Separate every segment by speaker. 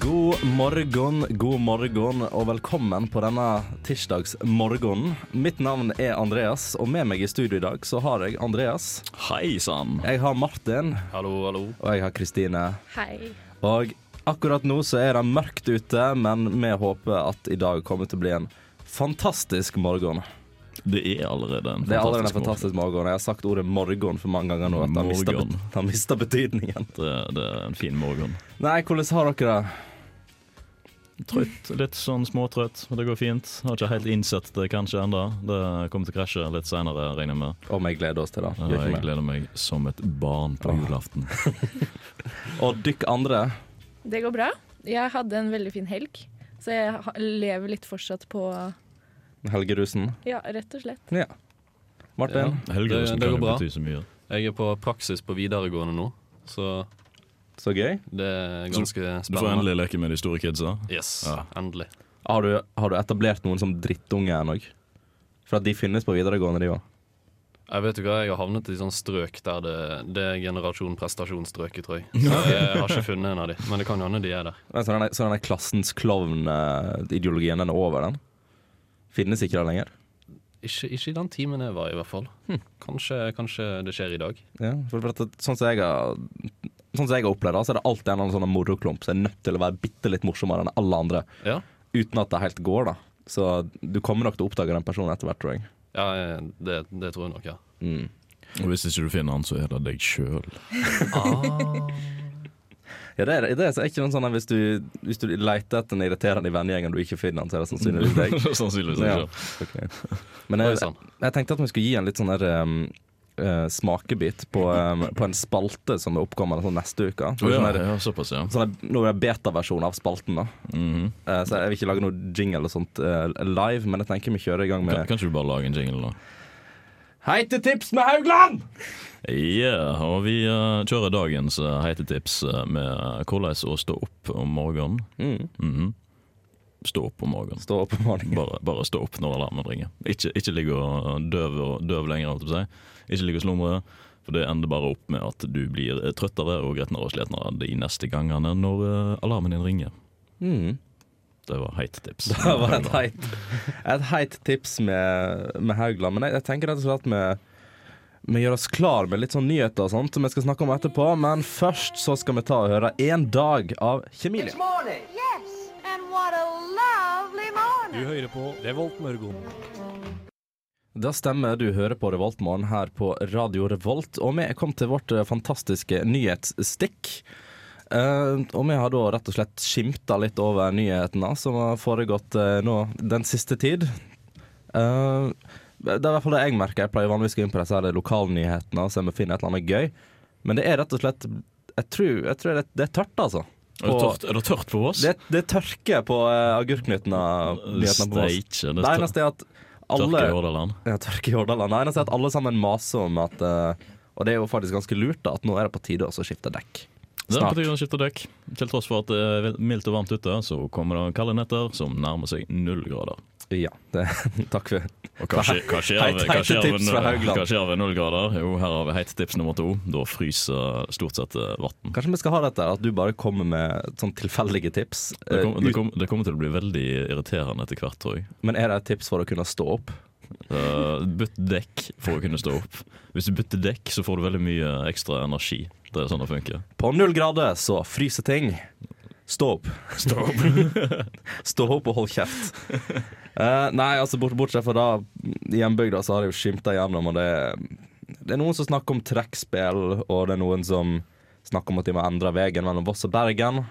Speaker 1: God morgen, god morgen, og velkommen på denne tirsdagsmorgenen. Mitt navn er Andreas, og med meg i studio i dag så har jeg Andreas.
Speaker 2: Hei sann.
Speaker 1: Jeg har Martin,
Speaker 2: Hallo, hallo.
Speaker 1: og jeg har Kristine.
Speaker 3: Hei.
Speaker 1: Og akkurat nå så er det mørkt ute, men vi håper at i dag kommer til å bli en fantastisk morgen.
Speaker 2: Det er allerede en
Speaker 1: Det er allerede en
Speaker 2: morgen.
Speaker 1: fantastisk morgen. Jeg har sagt ordet 'morgen' for mange ganger nå. At han mister,
Speaker 2: Morgen.
Speaker 1: bet- han mister betydningen.
Speaker 2: Det, Eh, det er en fin morgen.
Speaker 1: Nei, hvordan har dere det?
Speaker 2: Trøtt. Litt sånn småtrøtt, men det går fint. Har ikke helt innsett det kanskje ennå. Det kommer til å krasje litt seinere, regner jeg med.
Speaker 1: Om jeg gleder oss til det. Ah.
Speaker 2: Og
Speaker 1: Gjør
Speaker 2: jeg
Speaker 1: ikke vi?
Speaker 2: gleder meg som et barn på julaften.
Speaker 1: Og dykk andre.
Speaker 3: Det går bra. Jeg hadde en veldig fin helg, så jeg ha- lever litt fortsatt på
Speaker 1: Helge Rusen.
Speaker 3: Ja, rett og slett.
Speaker 1: Ja. Martin.
Speaker 2: Helgerusen kan
Speaker 4: det går
Speaker 2: jo
Speaker 4: bra.
Speaker 2: bety så mye.
Speaker 4: Jeg er på praksis på videregående nå, så
Speaker 1: Så gøy.
Speaker 4: det er ganske
Speaker 2: Du får
Speaker 4: spennende.
Speaker 2: endelig leke med de store kidsa.
Speaker 4: Yes,
Speaker 2: Ja.
Speaker 4: endelig.
Speaker 1: Har du, har du etablert noen som drittunge òg? For at de finnes på videregående, de òg.
Speaker 4: Jeg vet jo hva, jeg har havnet i sånn strøk der det, det er generasjon prestasjonsstrøket, tror jeg. Så jeg har ikke funnet en av de, men det kan jo hende de er der.
Speaker 1: Men Så den der- så den der klassens klovn-ideologien, den er over, den? Finnes ikke det lenger?
Speaker 4: Ikke, ikke i den timen jeg var i hvert fall. Hm, Kanskje, kanskje det skjer i dag.
Speaker 1: Ja, for, for at, det- sånn som jeg har Sånn som jeg har opplevd det, så er det alltid en eller annen sånn moroklump som er nødt til å være bitte litt morsommere enn alle andre.
Speaker 4: Ja,
Speaker 1: Uten at det helt går, da. Så du kommer nok til å oppdage den personen etter hvert, tror jeg.
Speaker 4: ja eh, det, det tror jeg nok, ja.
Speaker 1: Mm.
Speaker 2: Og hvis ikke du finner han, så er det deg sjøl.
Speaker 1: Ja, det er, det er ikke noen sånn at hvis du, hvis du leter etter en irriterende i vennegjengen du ikke finner, han, så er det sannsynligvis deg.
Speaker 2: Sannsynligvis
Speaker 1: Ja.
Speaker 2: ikke.
Speaker 1: Ok. Men
Speaker 4: Oi, sånn.
Speaker 1: jeg,
Speaker 4: sann.
Speaker 1: jeg tenkte at vi skulle gi en litt sånn der ehm, eh, smakebit på, ehm, på en spalte som er oppkommende sånn neste uke.
Speaker 2: Å,
Speaker 1: Sånn
Speaker 2: ja,
Speaker 1: der-
Speaker 2: ja, såpass, ja.
Speaker 1: sånn der- nå er det betaversjon av spalten, da.
Speaker 2: Mhm.
Speaker 1: Eh, Så jeg vil ikke lage noe jingle eller sånt eh, live, men jeg tenker vi kjører i gang
Speaker 2: Kan
Speaker 1: med
Speaker 2: Kanskje du bare lage en jingle, da?
Speaker 1: Heitetips med Haugland!
Speaker 2: Ja, og vi eh, kjører dagens eh, heite tips eh, med hvordan å stå opp om morgenen.
Speaker 1: Mm.
Speaker 2: Mhm. Stå opp om morgenen.
Speaker 1: Stå opp om morgenen.
Speaker 2: Bare, bare stå opp når alarmen ringer. Ikke, ikke ligge og døv, og døv lenger, holdt jeg på å si. Ikke ligge og slumre. For det ender bare opp med at du blir eh, trøttere og gretnere og slitnere de neste gangene når eh, alarmen din ringer.
Speaker 1: Mm.
Speaker 2: Det var heit tips.
Speaker 1: Det var et heit, et heit tips med, med Haugland. Men jeg, jeg tenker rett og slett at vi- vi gjør oss klar med litt sånn nyheter og sånt som vi skal snakke om etterpå. Men først så skal vi ta og høre 'En dag' av Kjemilia.
Speaker 5: morning. Yes, and what a lovely morning.
Speaker 6: Du hører på Revolt Mørgon.
Speaker 1: Da stemmer du hører på Revoltmorgen her på Radio Revolt. Og vi er kommet til vårt eh, fantastiske nyhetsstikk. Eh, og vi har da rett og slett skimta litt over nyhetene som har foregått eh, nå den siste tid. Eh, det er i hvert fall det jeg merker. Jeg pleier vanligvis å gå inn på disse her lokalnyhetene og se om jeg finner et eller annet gøy. Men det er rett og slett Jeg tror, jeg tror det, det er tørt, altså.
Speaker 2: Er det tørt, er det tørt på Voss?
Speaker 1: Det, det er tørke på uh, agurknyhetene nyhetene på oss.
Speaker 2: Steike. Det
Speaker 1: Det
Speaker 2: er
Speaker 1: eneste er at
Speaker 2: tørt
Speaker 1: alle
Speaker 2: i Hordaland.
Speaker 1: ja, tørke i Hordaland. Nei, nå ser jeg at alle sammen maser om at eh, Og det er jo faktisk ganske lurt da, at nå er det på tide også å skifte dekk.
Speaker 2: Det er
Speaker 1: Snart.
Speaker 2: på tide å skifte dekk. Til tross for at det er mildt og varmt ute, så kommer det kalde netter som nærmer seg null grader.
Speaker 1: Ja, det, takk for
Speaker 2: Og hva skjer, hva skjer,
Speaker 1: Heit-
Speaker 2: hva skjer,
Speaker 1: heite tips fra
Speaker 2: ved,
Speaker 1: Haugland.
Speaker 2: hva skjer ved null grader? Jo, her har vi heite tips nummer to. Da fryser stort sett eh, vann.
Speaker 1: Kanskje vi skal ha dette, at du bare kommer med sånn tilfeldige tips.
Speaker 2: Det,
Speaker 1: eh,
Speaker 2: kom, det,
Speaker 1: ut,
Speaker 2: kom, det kommer til å bli veldig irriterende etter hvert, tror jeg.
Speaker 1: men er det et tips for å kunne stå opp?
Speaker 2: Eh, bytt dekk for å kunne stå opp. Hvis du bytter dekk, så får du veldig mye ekstra energi. Det er sånn det funker.
Speaker 1: På null grader så fryser ting. Stå opp.
Speaker 2: Stå opp.
Speaker 1: Stå opp og hold kjeft. Eh, nei, altså bort, bortsett fra da, i hjembygda så har det jo skimta gjennom, og det, det er noen som snakker om trekkspill, og det er noen som snakker om at de må endre veien mellom Voss og Bergen.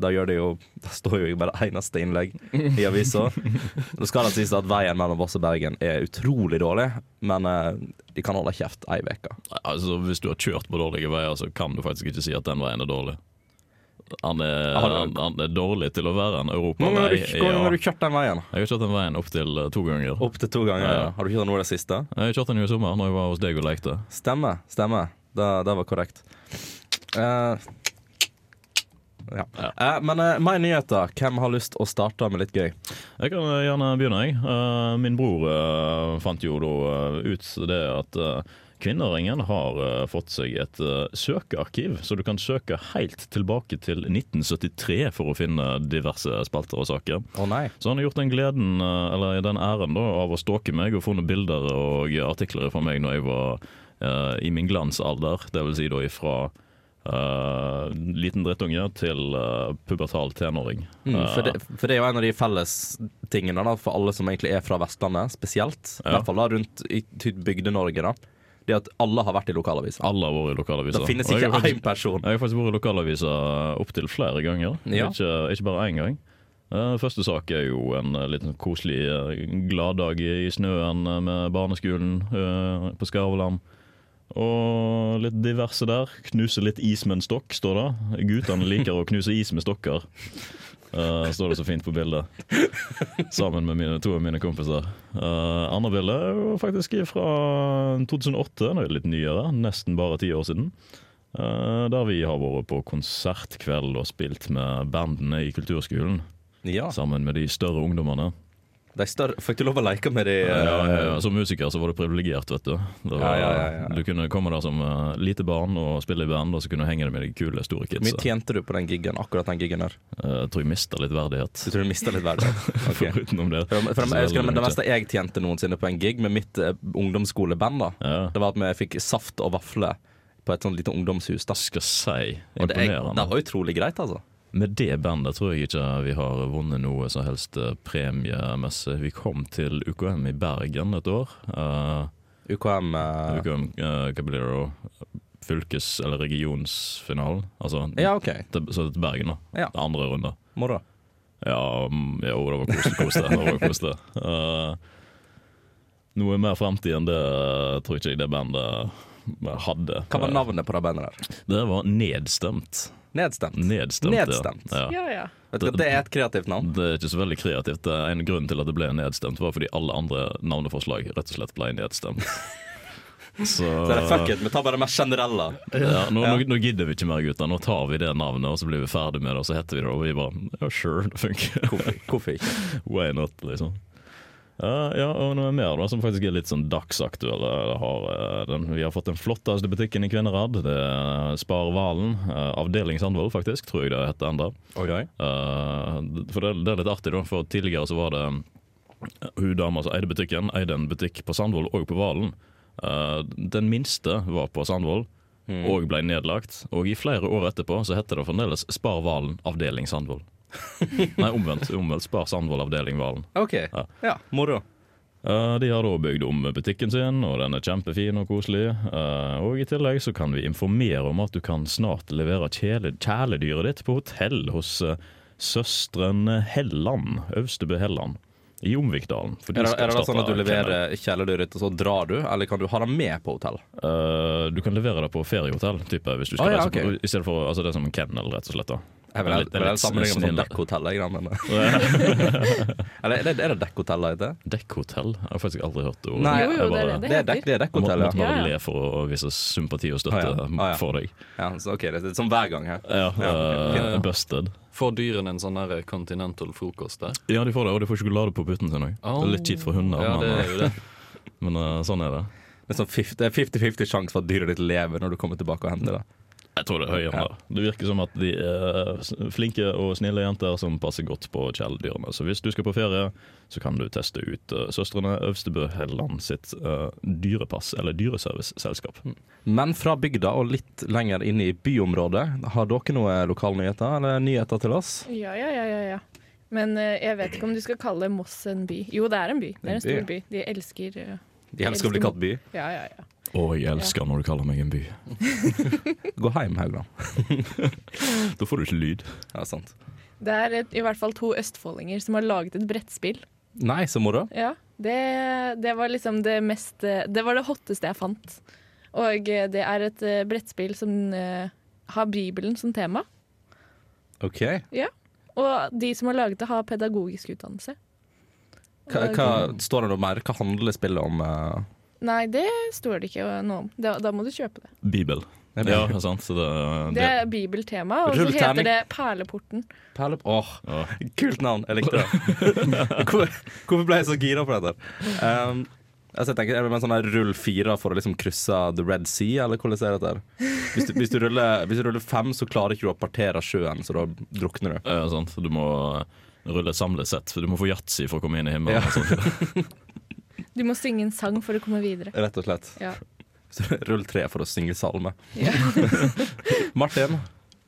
Speaker 1: Da gjør det jo, da står jo i hvert eneste innlegg i avisa. Da skal det sies at veien mellom Voss og Bergen er utrolig dårlig, men eh, de kan holde kjeft ei uke.
Speaker 2: Altså, hvis du har kjørt på dårlige veier, så kan du faktisk ikke si at den veien er dårlig. Han er,
Speaker 1: Har du-
Speaker 2: han, han er dårlig til å være en
Speaker 1: Hvor mange har
Speaker 2: europavei.
Speaker 1: du- hvor mange
Speaker 2: Ja.
Speaker 1: har du kjørt den veien?
Speaker 2: Jeg har kjørt den veien opptil to ganger.
Speaker 1: Opptil to ganger.
Speaker 2: Ja.
Speaker 1: Har du kjørt den nå i det siste?
Speaker 2: Jeg har kjørt den jo i sommer når jeg var hos deg og lekte.
Speaker 1: Stemmer. Stemmer. Det, det var korrekt. Eh, ja. Eh, men uh, meg nyheter. Hvem har lyst å starte med litt gøy?
Speaker 2: Jeg kan eh, gjerne begynne, jeg. Eh, Min bror eh, fant jo da eh, ut det at eh, Kvinneringen har eh, fått seg et eh, søkearkiv, så du kan søke helt tilbake til 1973 for å finne diverse spalter og saker.
Speaker 1: Å nei.
Speaker 2: Så han har gjort den gleden, eh, eller den æren da, av å stalke meg og funnet bilder og artikler fra meg når jeg var eh, i min glansalder. Det vil si da ifra eh, liten drittunge til eh, pubertal tenåring.
Speaker 1: Mm, for,
Speaker 2: Eh,
Speaker 1: det, for det er jo en av de fellestingene da, for alle som egentlig er fra Vestlandet, spesielt. I
Speaker 2: Ja.
Speaker 1: hvert fall da rundt i ty- Bygde-Norge, da. Det at alle har vært i lokalaviser.
Speaker 2: Alle har vært i lokalaviser.
Speaker 1: Det finnes
Speaker 2: Og jeg
Speaker 1: ikke
Speaker 2: har faktisk-
Speaker 1: én person.
Speaker 2: Jeg har faktisk vært i lokalavisa opptil flere ganger.
Speaker 1: Ja.
Speaker 2: Ikke, ikke bare én gang. Eh, Første sak er jo en eh, liten koselig eh, gladdag i snøen eh, med barneskolen eh, på Skarveland. Og litt diverse der. Knuse litt is med en stokk, står det. Guttene liker å knuse is med stokker, eh, står det så fint på bildet. Sammen med mine, to av mine kompiser. Uh, Andre bilde er jo faktisk fra 2008, nå er det litt nyere. Nesten bare ti år siden. Eh, Der vi har vært på konsertkveld og spilt med bandene i kulturskolen.
Speaker 1: Ja,
Speaker 2: Sammen med de større ungdommene.
Speaker 1: de større, Fikk du lov å leke med de
Speaker 2: Ja, ja, ja.
Speaker 1: eh,
Speaker 2: Som musiker så var du privilegert, vet du. Det
Speaker 1: Ja,
Speaker 2: var,
Speaker 1: ja, ja, ja.
Speaker 2: Du kunne komme der som eh, lite barn og spille i band, og så kunne du henge deg med de kule, store
Speaker 1: Hvor mye
Speaker 2: kidsa.
Speaker 1: tjente du på den giggen, akkurat den giggen der?
Speaker 2: Eh, Jeg tror jeg mista litt verdighet.
Speaker 1: Du tror du mista litt verdighet? Ok.
Speaker 2: Utenom det.
Speaker 1: For, for,
Speaker 2: så
Speaker 1: jeg husker
Speaker 2: veldig
Speaker 1: det, det
Speaker 2: mye.
Speaker 1: meste jeg tjente noensinne på en gig med mitt eh, ungdomsskoleband, da,
Speaker 2: Ja.
Speaker 1: det var at vi fikk saft og vafler på et sånt lite ungdomshus. Da.
Speaker 2: Skal si
Speaker 1: Og det, er,
Speaker 2: imponerende.
Speaker 1: det var utrolig greit, altså.
Speaker 2: Med det bandet tror jeg ikke vi har vunnet noe som helst eh, premiemessig. Vi kom til UKM i Bergen et år. Eh,
Speaker 1: UKM eh,
Speaker 2: UKM uh, Caballero fylkes- eller regionsfinalen. Altså
Speaker 1: Ja, OK.
Speaker 2: til, så til Bergen, da.
Speaker 1: Ja.
Speaker 2: Det Andre runde.
Speaker 1: Moro.
Speaker 2: Ja, mm, jo, det var kos- kos det. det, var kos det. Eh, noe mer fremtid enn det eh, tror ikke jeg det bandet eh, hadde. Eh,
Speaker 1: Hva var navnet på det bandet der?
Speaker 2: Det var nedstemt.
Speaker 1: Nedstemt.
Speaker 2: Nedstemt. ja.
Speaker 1: Nedstemt.
Speaker 2: Ja.
Speaker 3: Ja, ja.
Speaker 1: Vet du hva, Det er et kreativt navn.
Speaker 2: Det er ikke så veldig kreativt. Det er En grunn til at det ble nedstemt, var fordi alle andre navneforslag rett og slett ble nedstemt. Så,
Speaker 1: Så det er fuck it, vi tar bare det mest generelle.
Speaker 2: ja, nå, nå, nå gidder vi ikke mer, gutter. Nå tar vi det navnet, og så blir vi ferdig med det, og så heter vi det, og vi bare Ja, sure, det funker.
Speaker 1: Hvorfor, hvorfor ikke?
Speaker 2: Why not, liksom. Ja, ja, og noe mer da, som faktisk er litt sånn dagsaktuelle. Det Har, eh, den, vi har fått den flotteste butikken i Kvinnherad. Det er Spar Valen. eh, Avdeling Sandvold, faktisk, tror jeg det heter enda.
Speaker 1: Oi, oi.
Speaker 2: Eh, for det, det er litt artig, da. For tidligere så var det eh, hun dama som eide butikken, eide en butikk på Sandvoll og på Valen. Eh, den minste var på Sandvoll
Speaker 1: Mm.
Speaker 2: og ble nedlagt. Og i flere år etterpå så heter det fremdeles Spar Valen avdeling Sandvoll. Nei, omvendt. omvendt Spar Sandvoll avdeling Valen.
Speaker 1: OK. Ja, moro.
Speaker 2: Eh, de har da bygd om butikken sin, og den er kjempefin og koselig. Eh, og i tillegg så kan vi informere om at du kan snart levere kjæle, kjæledyret ditt på hotell hos uh, søstrene Helland, Øvstebø Helland, i Omvikdalen. For de
Speaker 1: Er det,
Speaker 2: skal
Speaker 1: er det da
Speaker 2: starte
Speaker 1: sånn at du
Speaker 2: kennel.
Speaker 1: leverer kjæledyret ditt, og så drar du? Eller kan du ha det med på hotell?
Speaker 2: Eh, Du kan levere det på feriehotell, type, hvis du
Speaker 1: Å,
Speaker 2: skal
Speaker 1: ja,
Speaker 2: reise
Speaker 1: ok.
Speaker 2: på, i stedet for altså, det er som en kennel, rett og slett. da.
Speaker 1: Jeg vil
Speaker 2: Det er
Speaker 1: jeg
Speaker 2: litt- det er
Speaker 1: vil
Speaker 2: litt
Speaker 1: jeg sammenligne med sånn
Speaker 2: snillere.
Speaker 1: dekkhotell. jeg, grann, men- Eller er det, er det dekkhotell det heter?
Speaker 2: Dekkhotell? Jeg har faktisk aldri hørt det ordet.
Speaker 1: Nei,
Speaker 3: Jo, jo,
Speaker 2: Jeg
Speaker 3: det er
Speaker 2: bare-
Speaker 3: det.
Speaker 1: Det er dekk, det er
Speaker 2: Jeg måtte,
Speaker 1: dekkhotell,
Speaker 2: måtte
Speaker 1: ja.
Speaker 2: bare
Speaker 3: Ja, ja.
Speaker 2: le for å vise sympati og støtte
Speaker 1: Å, ja. Å, ja.
Speaker 2: for deg.
Speaker 1: ja så, ok, det er som hver gang her.
Speaker 2: Ja,
Speaker 1: Ja,
Speaker 2: eh, Busted.
Speaker 4: Får dyrene en sånn der continental frokost der?
Speaker 2: Ja, de får det, og de får sjokolade på putten sin òg. Det er litt kjipt for hunder,
Speaker 4: Ja, det
Speaker 2: men, eh,
Speaker 4: er jo det.
Speaker 2: men eh, sånn er det.
Speaker 1: Det er sånn 50 det er 50-50 sjanse for at dyret ditt lever når du kommer tilbake og henter det.
Speaker 2: Jeg tror det er høyere.
Speaker 1: Ja.
Speaker 2: da. Det virker som at de er s- flinke og snille jenter som passer godt på kjæledyrene. Så hvis du skal på ferie, så kan du teste ut eh, Søstrene Øvstebø Helland sitt eh, dyrepass, eller dyreserviceselskap.
Speaker 1: Men fra bygda og litt lenger inn i byområdet, har dere noen lokalnyheter eller nyheter til oss?
Speaker 3: Ja, ja, ja, ja, ja. Men eh, jeg vet ikke om du skal kalle Moss en by. Jo, det er en by. Det er en stor by. De elsker eh,
Speaker 1: De elsker å bli kalt by.
Speaker 3: Ja, ja, ja.
Speaker 2: Å, jeg elsker når du kaller meg en by.
Speaker 1: Gå hjem, Haugland.
Speaker 2: Da får du ikke lyd.
Speaker 1: Ja, sant.
Speaker 3: Det er et, i hvert fall to østfoldinger som har laget et brettspill.
Speaker 1: Nei, så moro.
Speaker 3: Ja, det, det var liksom det mest eh, Det var det hotteste jeg fant. Og eh, det er et eh, brettspill som eh, har Bibelen som tema.
Speaker 1: OK.
Speaker 3: Ja. Og de som har laget det, har pedagogisk utdannelse.
Speaker 1: Hva, hva, står det noe mer? Hva handler spillet om? eh?
Speaker 3: Nei, det står det ikke noe om. Da, da må du kjøpe det.
Speaker 2: Bibel.
Speaker 1: Er det-
Speaker 2: Ja, sant. Så det,
Speaker 3: Det er bibeltema, og så
Speaker 1: Rull terning.
Speaker 3: heter det Perleporten.
Speaker 1: Perle på Åh,
Speaker 2: Ja.
Speaker 1: kult navn. Jeg likte det. Hvor, hvorfor ble jeg så gira på dette? Um, Altså, jeg tenker, er det en sånn her rull fire for å liksom krysse The Red Sea, eller hvordan er dette? her? Hvis du, hvis, du ruller, hvis du ruller fem, så klarer ikke du å partere sjøen, så da drukner du.
Speaker 2: Ja, sant? Du må rulle samlet sett. Du må få yatzy for å komme inn i himmelen.
Speaker 1: Ja.
Speaker 2: og sånt.
Speaker 3: Du må synge en sang for å komme videre.
Speaker 1: Rett og slett.
Speaker 3: Ja.
Speaker 1: Så rull tre for å synge salme.
Speaker 3: Ja.
Speaker 1: Martin,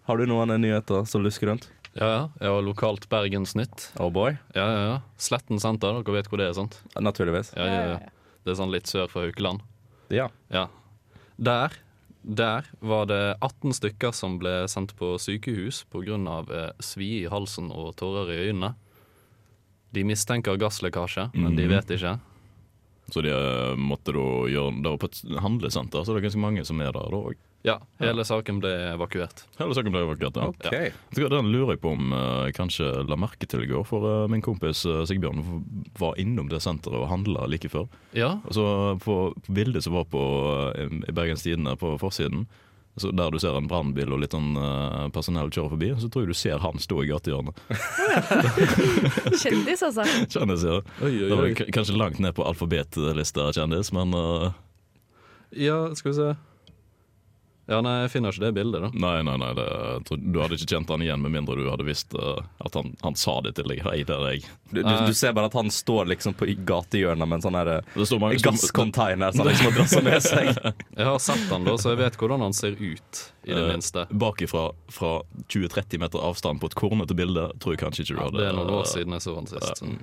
Speaker 1: har du noen nyheter som lusker rundt?
Speaker 4: Ja, ja. Jeg var lokalt Bergensnytt.
Speaker 1: Oh boy.
Speaker 4: Ja, ja, ja. Sletten senter, dere vet hvor det er, sant?
Speaker 1: Naturligvis.
Speaker 4: Ja, ja, ja. Det er sånn litt sør for Haukeland.
Speaker 1: Ja.
Speaker 4: Ja. Der, der var det 18 stykker som ble sendt på sykehus pga. Eh, svie i halsen og tårer i øynene. De mistenker gasslekkasje, men de
Speaker 2: Mhm.
Speaker 4: vet ikke.
Speaker 2: Så de eh, måtte da gjøre Det var på et handlesenter, så det er ganske mange som er der da òg.
Speaker 4: Ja, hele saken ble evakuert.
Speaker 2: Hele saken ble evakuert. Ja.
Speaker 1: OK.
Speaker 2: Vet du hva, Den lurer jeg på om eh, kanskje la merke til i går. For eh, min kompis eh, Sigbjørn v- var innom det senteret og handla like før.
Speaker 4: Ja,
Speaker 2: Og så På på bildet som var på eh, i Bergens Tidende på forsiden, så der du ser en brannbil og litt sånn eh, personell kjøre forbi, så tror jeg du ser han stå i gatehjørnet.
Speaker 3: Kjendis, altså.
Speaker 2: Kjendis, ja. Da var jeg k- kanskje langt ned på alfabetlista kjendis, men eh,
Speaker 4: ja skal vi se. Ja, nei, jeg finner ikke det bildet, da.
Speaker 2: Nei, nei, nei, det, jeg tror- du hadde ikke kjent han igjen med mindre du hadde visst eh, at han, han sa det til deg. Hei, det er jeg.
Speaker 1: Du, du, du ser bare at han står liksom på i gatehjørnet med en sånn her eh,
Speaker 2: Det står mange som-
Speaker 1: gasscontainer som han liksom har dratt med seg.
Speaker 4: Jeg har sett han da, så jeg vet hvordan han ser ut, i det
Speaker 2: Eh,
Speaker 4: minste.
Speaker 2: Bakifra, fra 20-30 meter avstand på et kornete bilde, tror jeg kanskje ikke du
Speaker 4: Ja,
Speaker 2: hadde
Speaker 4: det er noen år siden jeg så han
Speaker 2: eh,
Speaker 4: sist. Sånn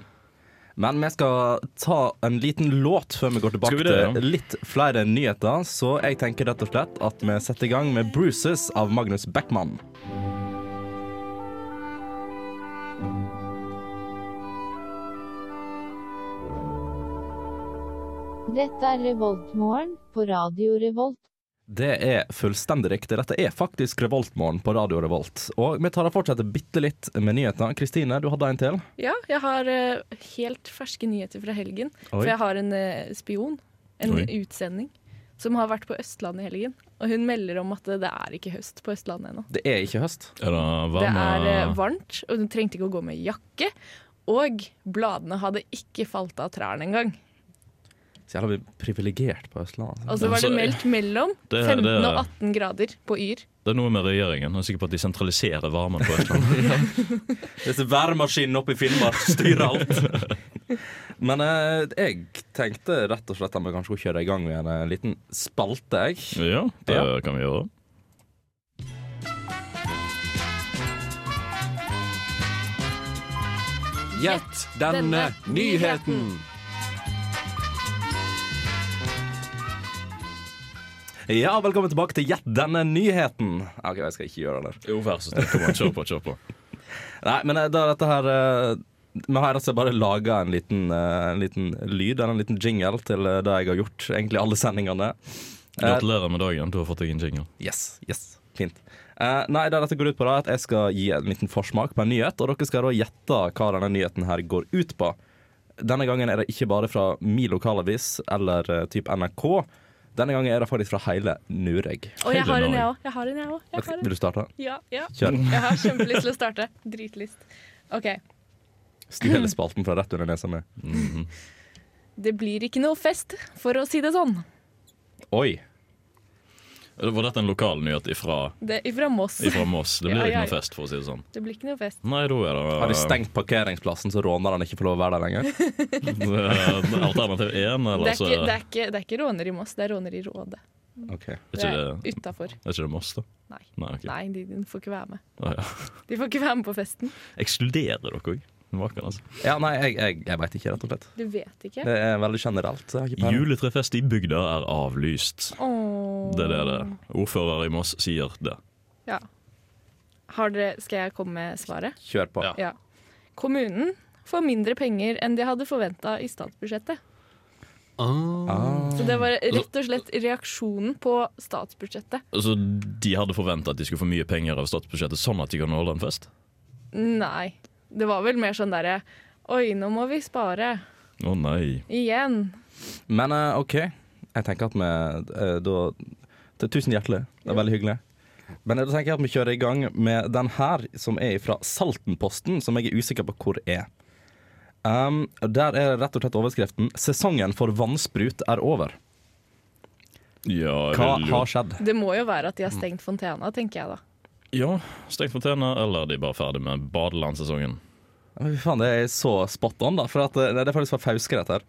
Speaker 1: Men vi skal ta en liten låt før vi går tilbake
Speaker 2: Skal vi det, ja?
Speaker 1: til litt flere nyheter. Så jeg tenker rett og slett at vi setter i gang med 'Bruises' av Magnus Backman.
Speaker 6: Dette er Revoltmorgen på Radio Revolt.
Speaker 1: Det er fullstendig riktig. Dette er faktisk Revoltmorgen på Radio Revolt. Og vi tar og fortsetter bitte litt med nyheter. Kristine, du hadde en til.
Speaker 3: Ja, jeg har eh, helt ferske nyheter fra helgen. For jeg har en eh, spion, en
Speaker 2: Oi.
Speaker 3: utsending, som har vært på Østlandet i helgen. Og hun melder om at eh, det er ikke høst på Østlandet ennå.
Speaker 1: Det er ikke høst.
Speaker 2: Er det varme
Speaker 3: Det er eh, varmt, og hun trengte ikke å gå med jakke. Og bladene hadde ikke falt av trærne engang.
Speaker 1: Så jævla vi privilegert på Østlandet. altså.
Speaker 3: Og så
Speaker 2: Ja,
Speaker 3: var det
Speaker 2: så-
Speaker 3: meldt mellom
Speaker 2: Det-
Speaker 3: 15
Speaker 2: det-
Speaker 3: og 18 grader på Yr.
Speaker 2: Det er noe med regjeringen. Jeg er sikker på at de sentraliserer varmen på sånn Østlandet.
Speaker 1: Disse værmaskinene oppe i Finnmark styrer alt. Men eh, jeg tenkte rett og slett at vi kanskje skulle kjøre i gang med en eh, liten spalte, jeg.
Speaker 2: ja, det
Speaker 1: Ja.
Speaker 2: kan vi gjøre.
Speaker 4: Gjett
Speaker 3: denne nyheten!
Speaker 1: Ja, velkommen tilbake til Gjett denne nyheten. Ok, jeg skal ikke gjøre det der.
Speaker 2: Jo, vær så snill. Kom an, kjør på, kjør på.
Speaker 1: Nei, men eh, da er dette her eh, Vi har rett og slett bare laga en, liten, eh, en liten lyd, eller en liten jingle, til eh, det jeg har gjort egentlig alle sendingene. Eh,
Speaker 2: Gratulerer med dagen. Du har fått deg en jingle.
Speaker 1: Yes, yes, fint. Eh, nei, det dette går ut på da, er at jeg skal gi en liten forsmak på en nyhet, og dere skal da gjette hva denne nyheten her går ut på. Denne gangen er det ikke bare fra min lokalavis eller eh, typ NRK. Denne gangen er det faktisk fra hele Nureg.
Speaker 3: Og jeg
Speaker 2: Hele
Speaker 3: har en,
Speaker 2: Norge.
Speaker 3: jeg òg. Jeg har en, jeg òg. Jeg har en.
Speaker 1: Vil du starte?
Speaker 3: Ja, ja.
Speaker 1: Kjør.
Speaker 3: Jeg har kjempelyst til å starte. Dritlyst. OK.
Speaker 1: Stjele spalten fra rett under nesa mi.
Speaker 3: Det blir ikke noe fest, for å si det sånn.
Speaker 1: Oi.
Speaker 2: Var dette en lokal nyhet ifra,
Speaker 3: Det er fra Moss.
Speaker 2: ifra Moss? Det blir
Speaker 3: Ja, ja,
Speaker 2: ikke
Speaker 3: ja.
Speaker 2: noe fest, for å si det sånn.
Speaker 3: Det blir ikke noe fest.
Speaker 2: Nei, da er det
Speaker 1: Har de stengt parkeringsplassen, så rånerne ikke får lov å være der lenger?
Speaker 2: Eh, Alternativ én, eller
Speaker 3: Det
Speaker 2: altså-
Speaker 3: er,
Speaker 2: så
Speaker 3: ikke, det, er ikke, det er ikke råner i Moss, det er råner i Rådet.
Speaker 1: Ok.
Speaker 3: Det
Speaker 2: ikke
Speaker 3: er
Speaker 2: det-
Speaker 3: utafor.
Speaker 2: Er ikke det Moss, da?
Speaker 3: Nei.
Speaker 2: Nei, ok.
Speaker 3: Nei, de, de får ikke være med.
Speaker 2: Ah, ja.
Speaker 3: De får ikke være med på festen.
Speaker 2: Ekskluderer dere òg? Vakan, altså.
Speaker 1: Ja, nei, jeg, jeg, jeg veit ikke, rett og slett.
Speaker 3: Du vet ikke.
Speaker 1: Det er veldig generelt. så Jeg har ikke peiling.
Speaker 2: Juletrefest i bygda er avlyst.
Speaker 3: Åh.
Speaker 2: Det er det det
Speaker 3: Mm.
Speaker 2: er. Ordfører i Moss sier det.
Speaker 3: Ja. Har dere, skal jeg komme med svaret?
Speaker 1: Kjør på.
Speaker 4: Ja.
Speaker 3: Ja. Kommunen får mindre penger enn de hadde forventa i statsbudsjettet. Så det var rett og slett reaksjonen på statsbudsjettet.
Speaker 2: Altså, De hadde forventa at de skulle få mye penger av statsbudsjettet, sånn at de kan holde en fest?
Speaker 3: Nei. Det var vel mer sånn derre Oi, nå må vi spare.
Speaker 2: Å nei.
Speaker 3: Igjen.
Speaker 1: Men eh, OK, jeg tenker at vi eh, da det, Tusen hjertelig, det er veldig hyggelig. Men eh, da tenker jeg at vi kjører i gang med den her, som er fra Saltenposten, som jeg er usikker på hvor er. Um, der er rett og slett overskriften 'Sesongen for vannsprut er over'.
Speaker 2: Ja,
Speaker 1: Hva
Speaker 2: jeg vil jo
Speaker 1: har skjedd?
Speaker 3: Det må jo være at de har stengt fontena, tenker jeg da.
Speaker 2: Ja, stekt fontene, eller er de bare ferdig med badelandsesongen?
Speaker 1: Ja, men Fy faen, det er så spot on, da. For at, eh, det er faktisk fra Fauske, dette her.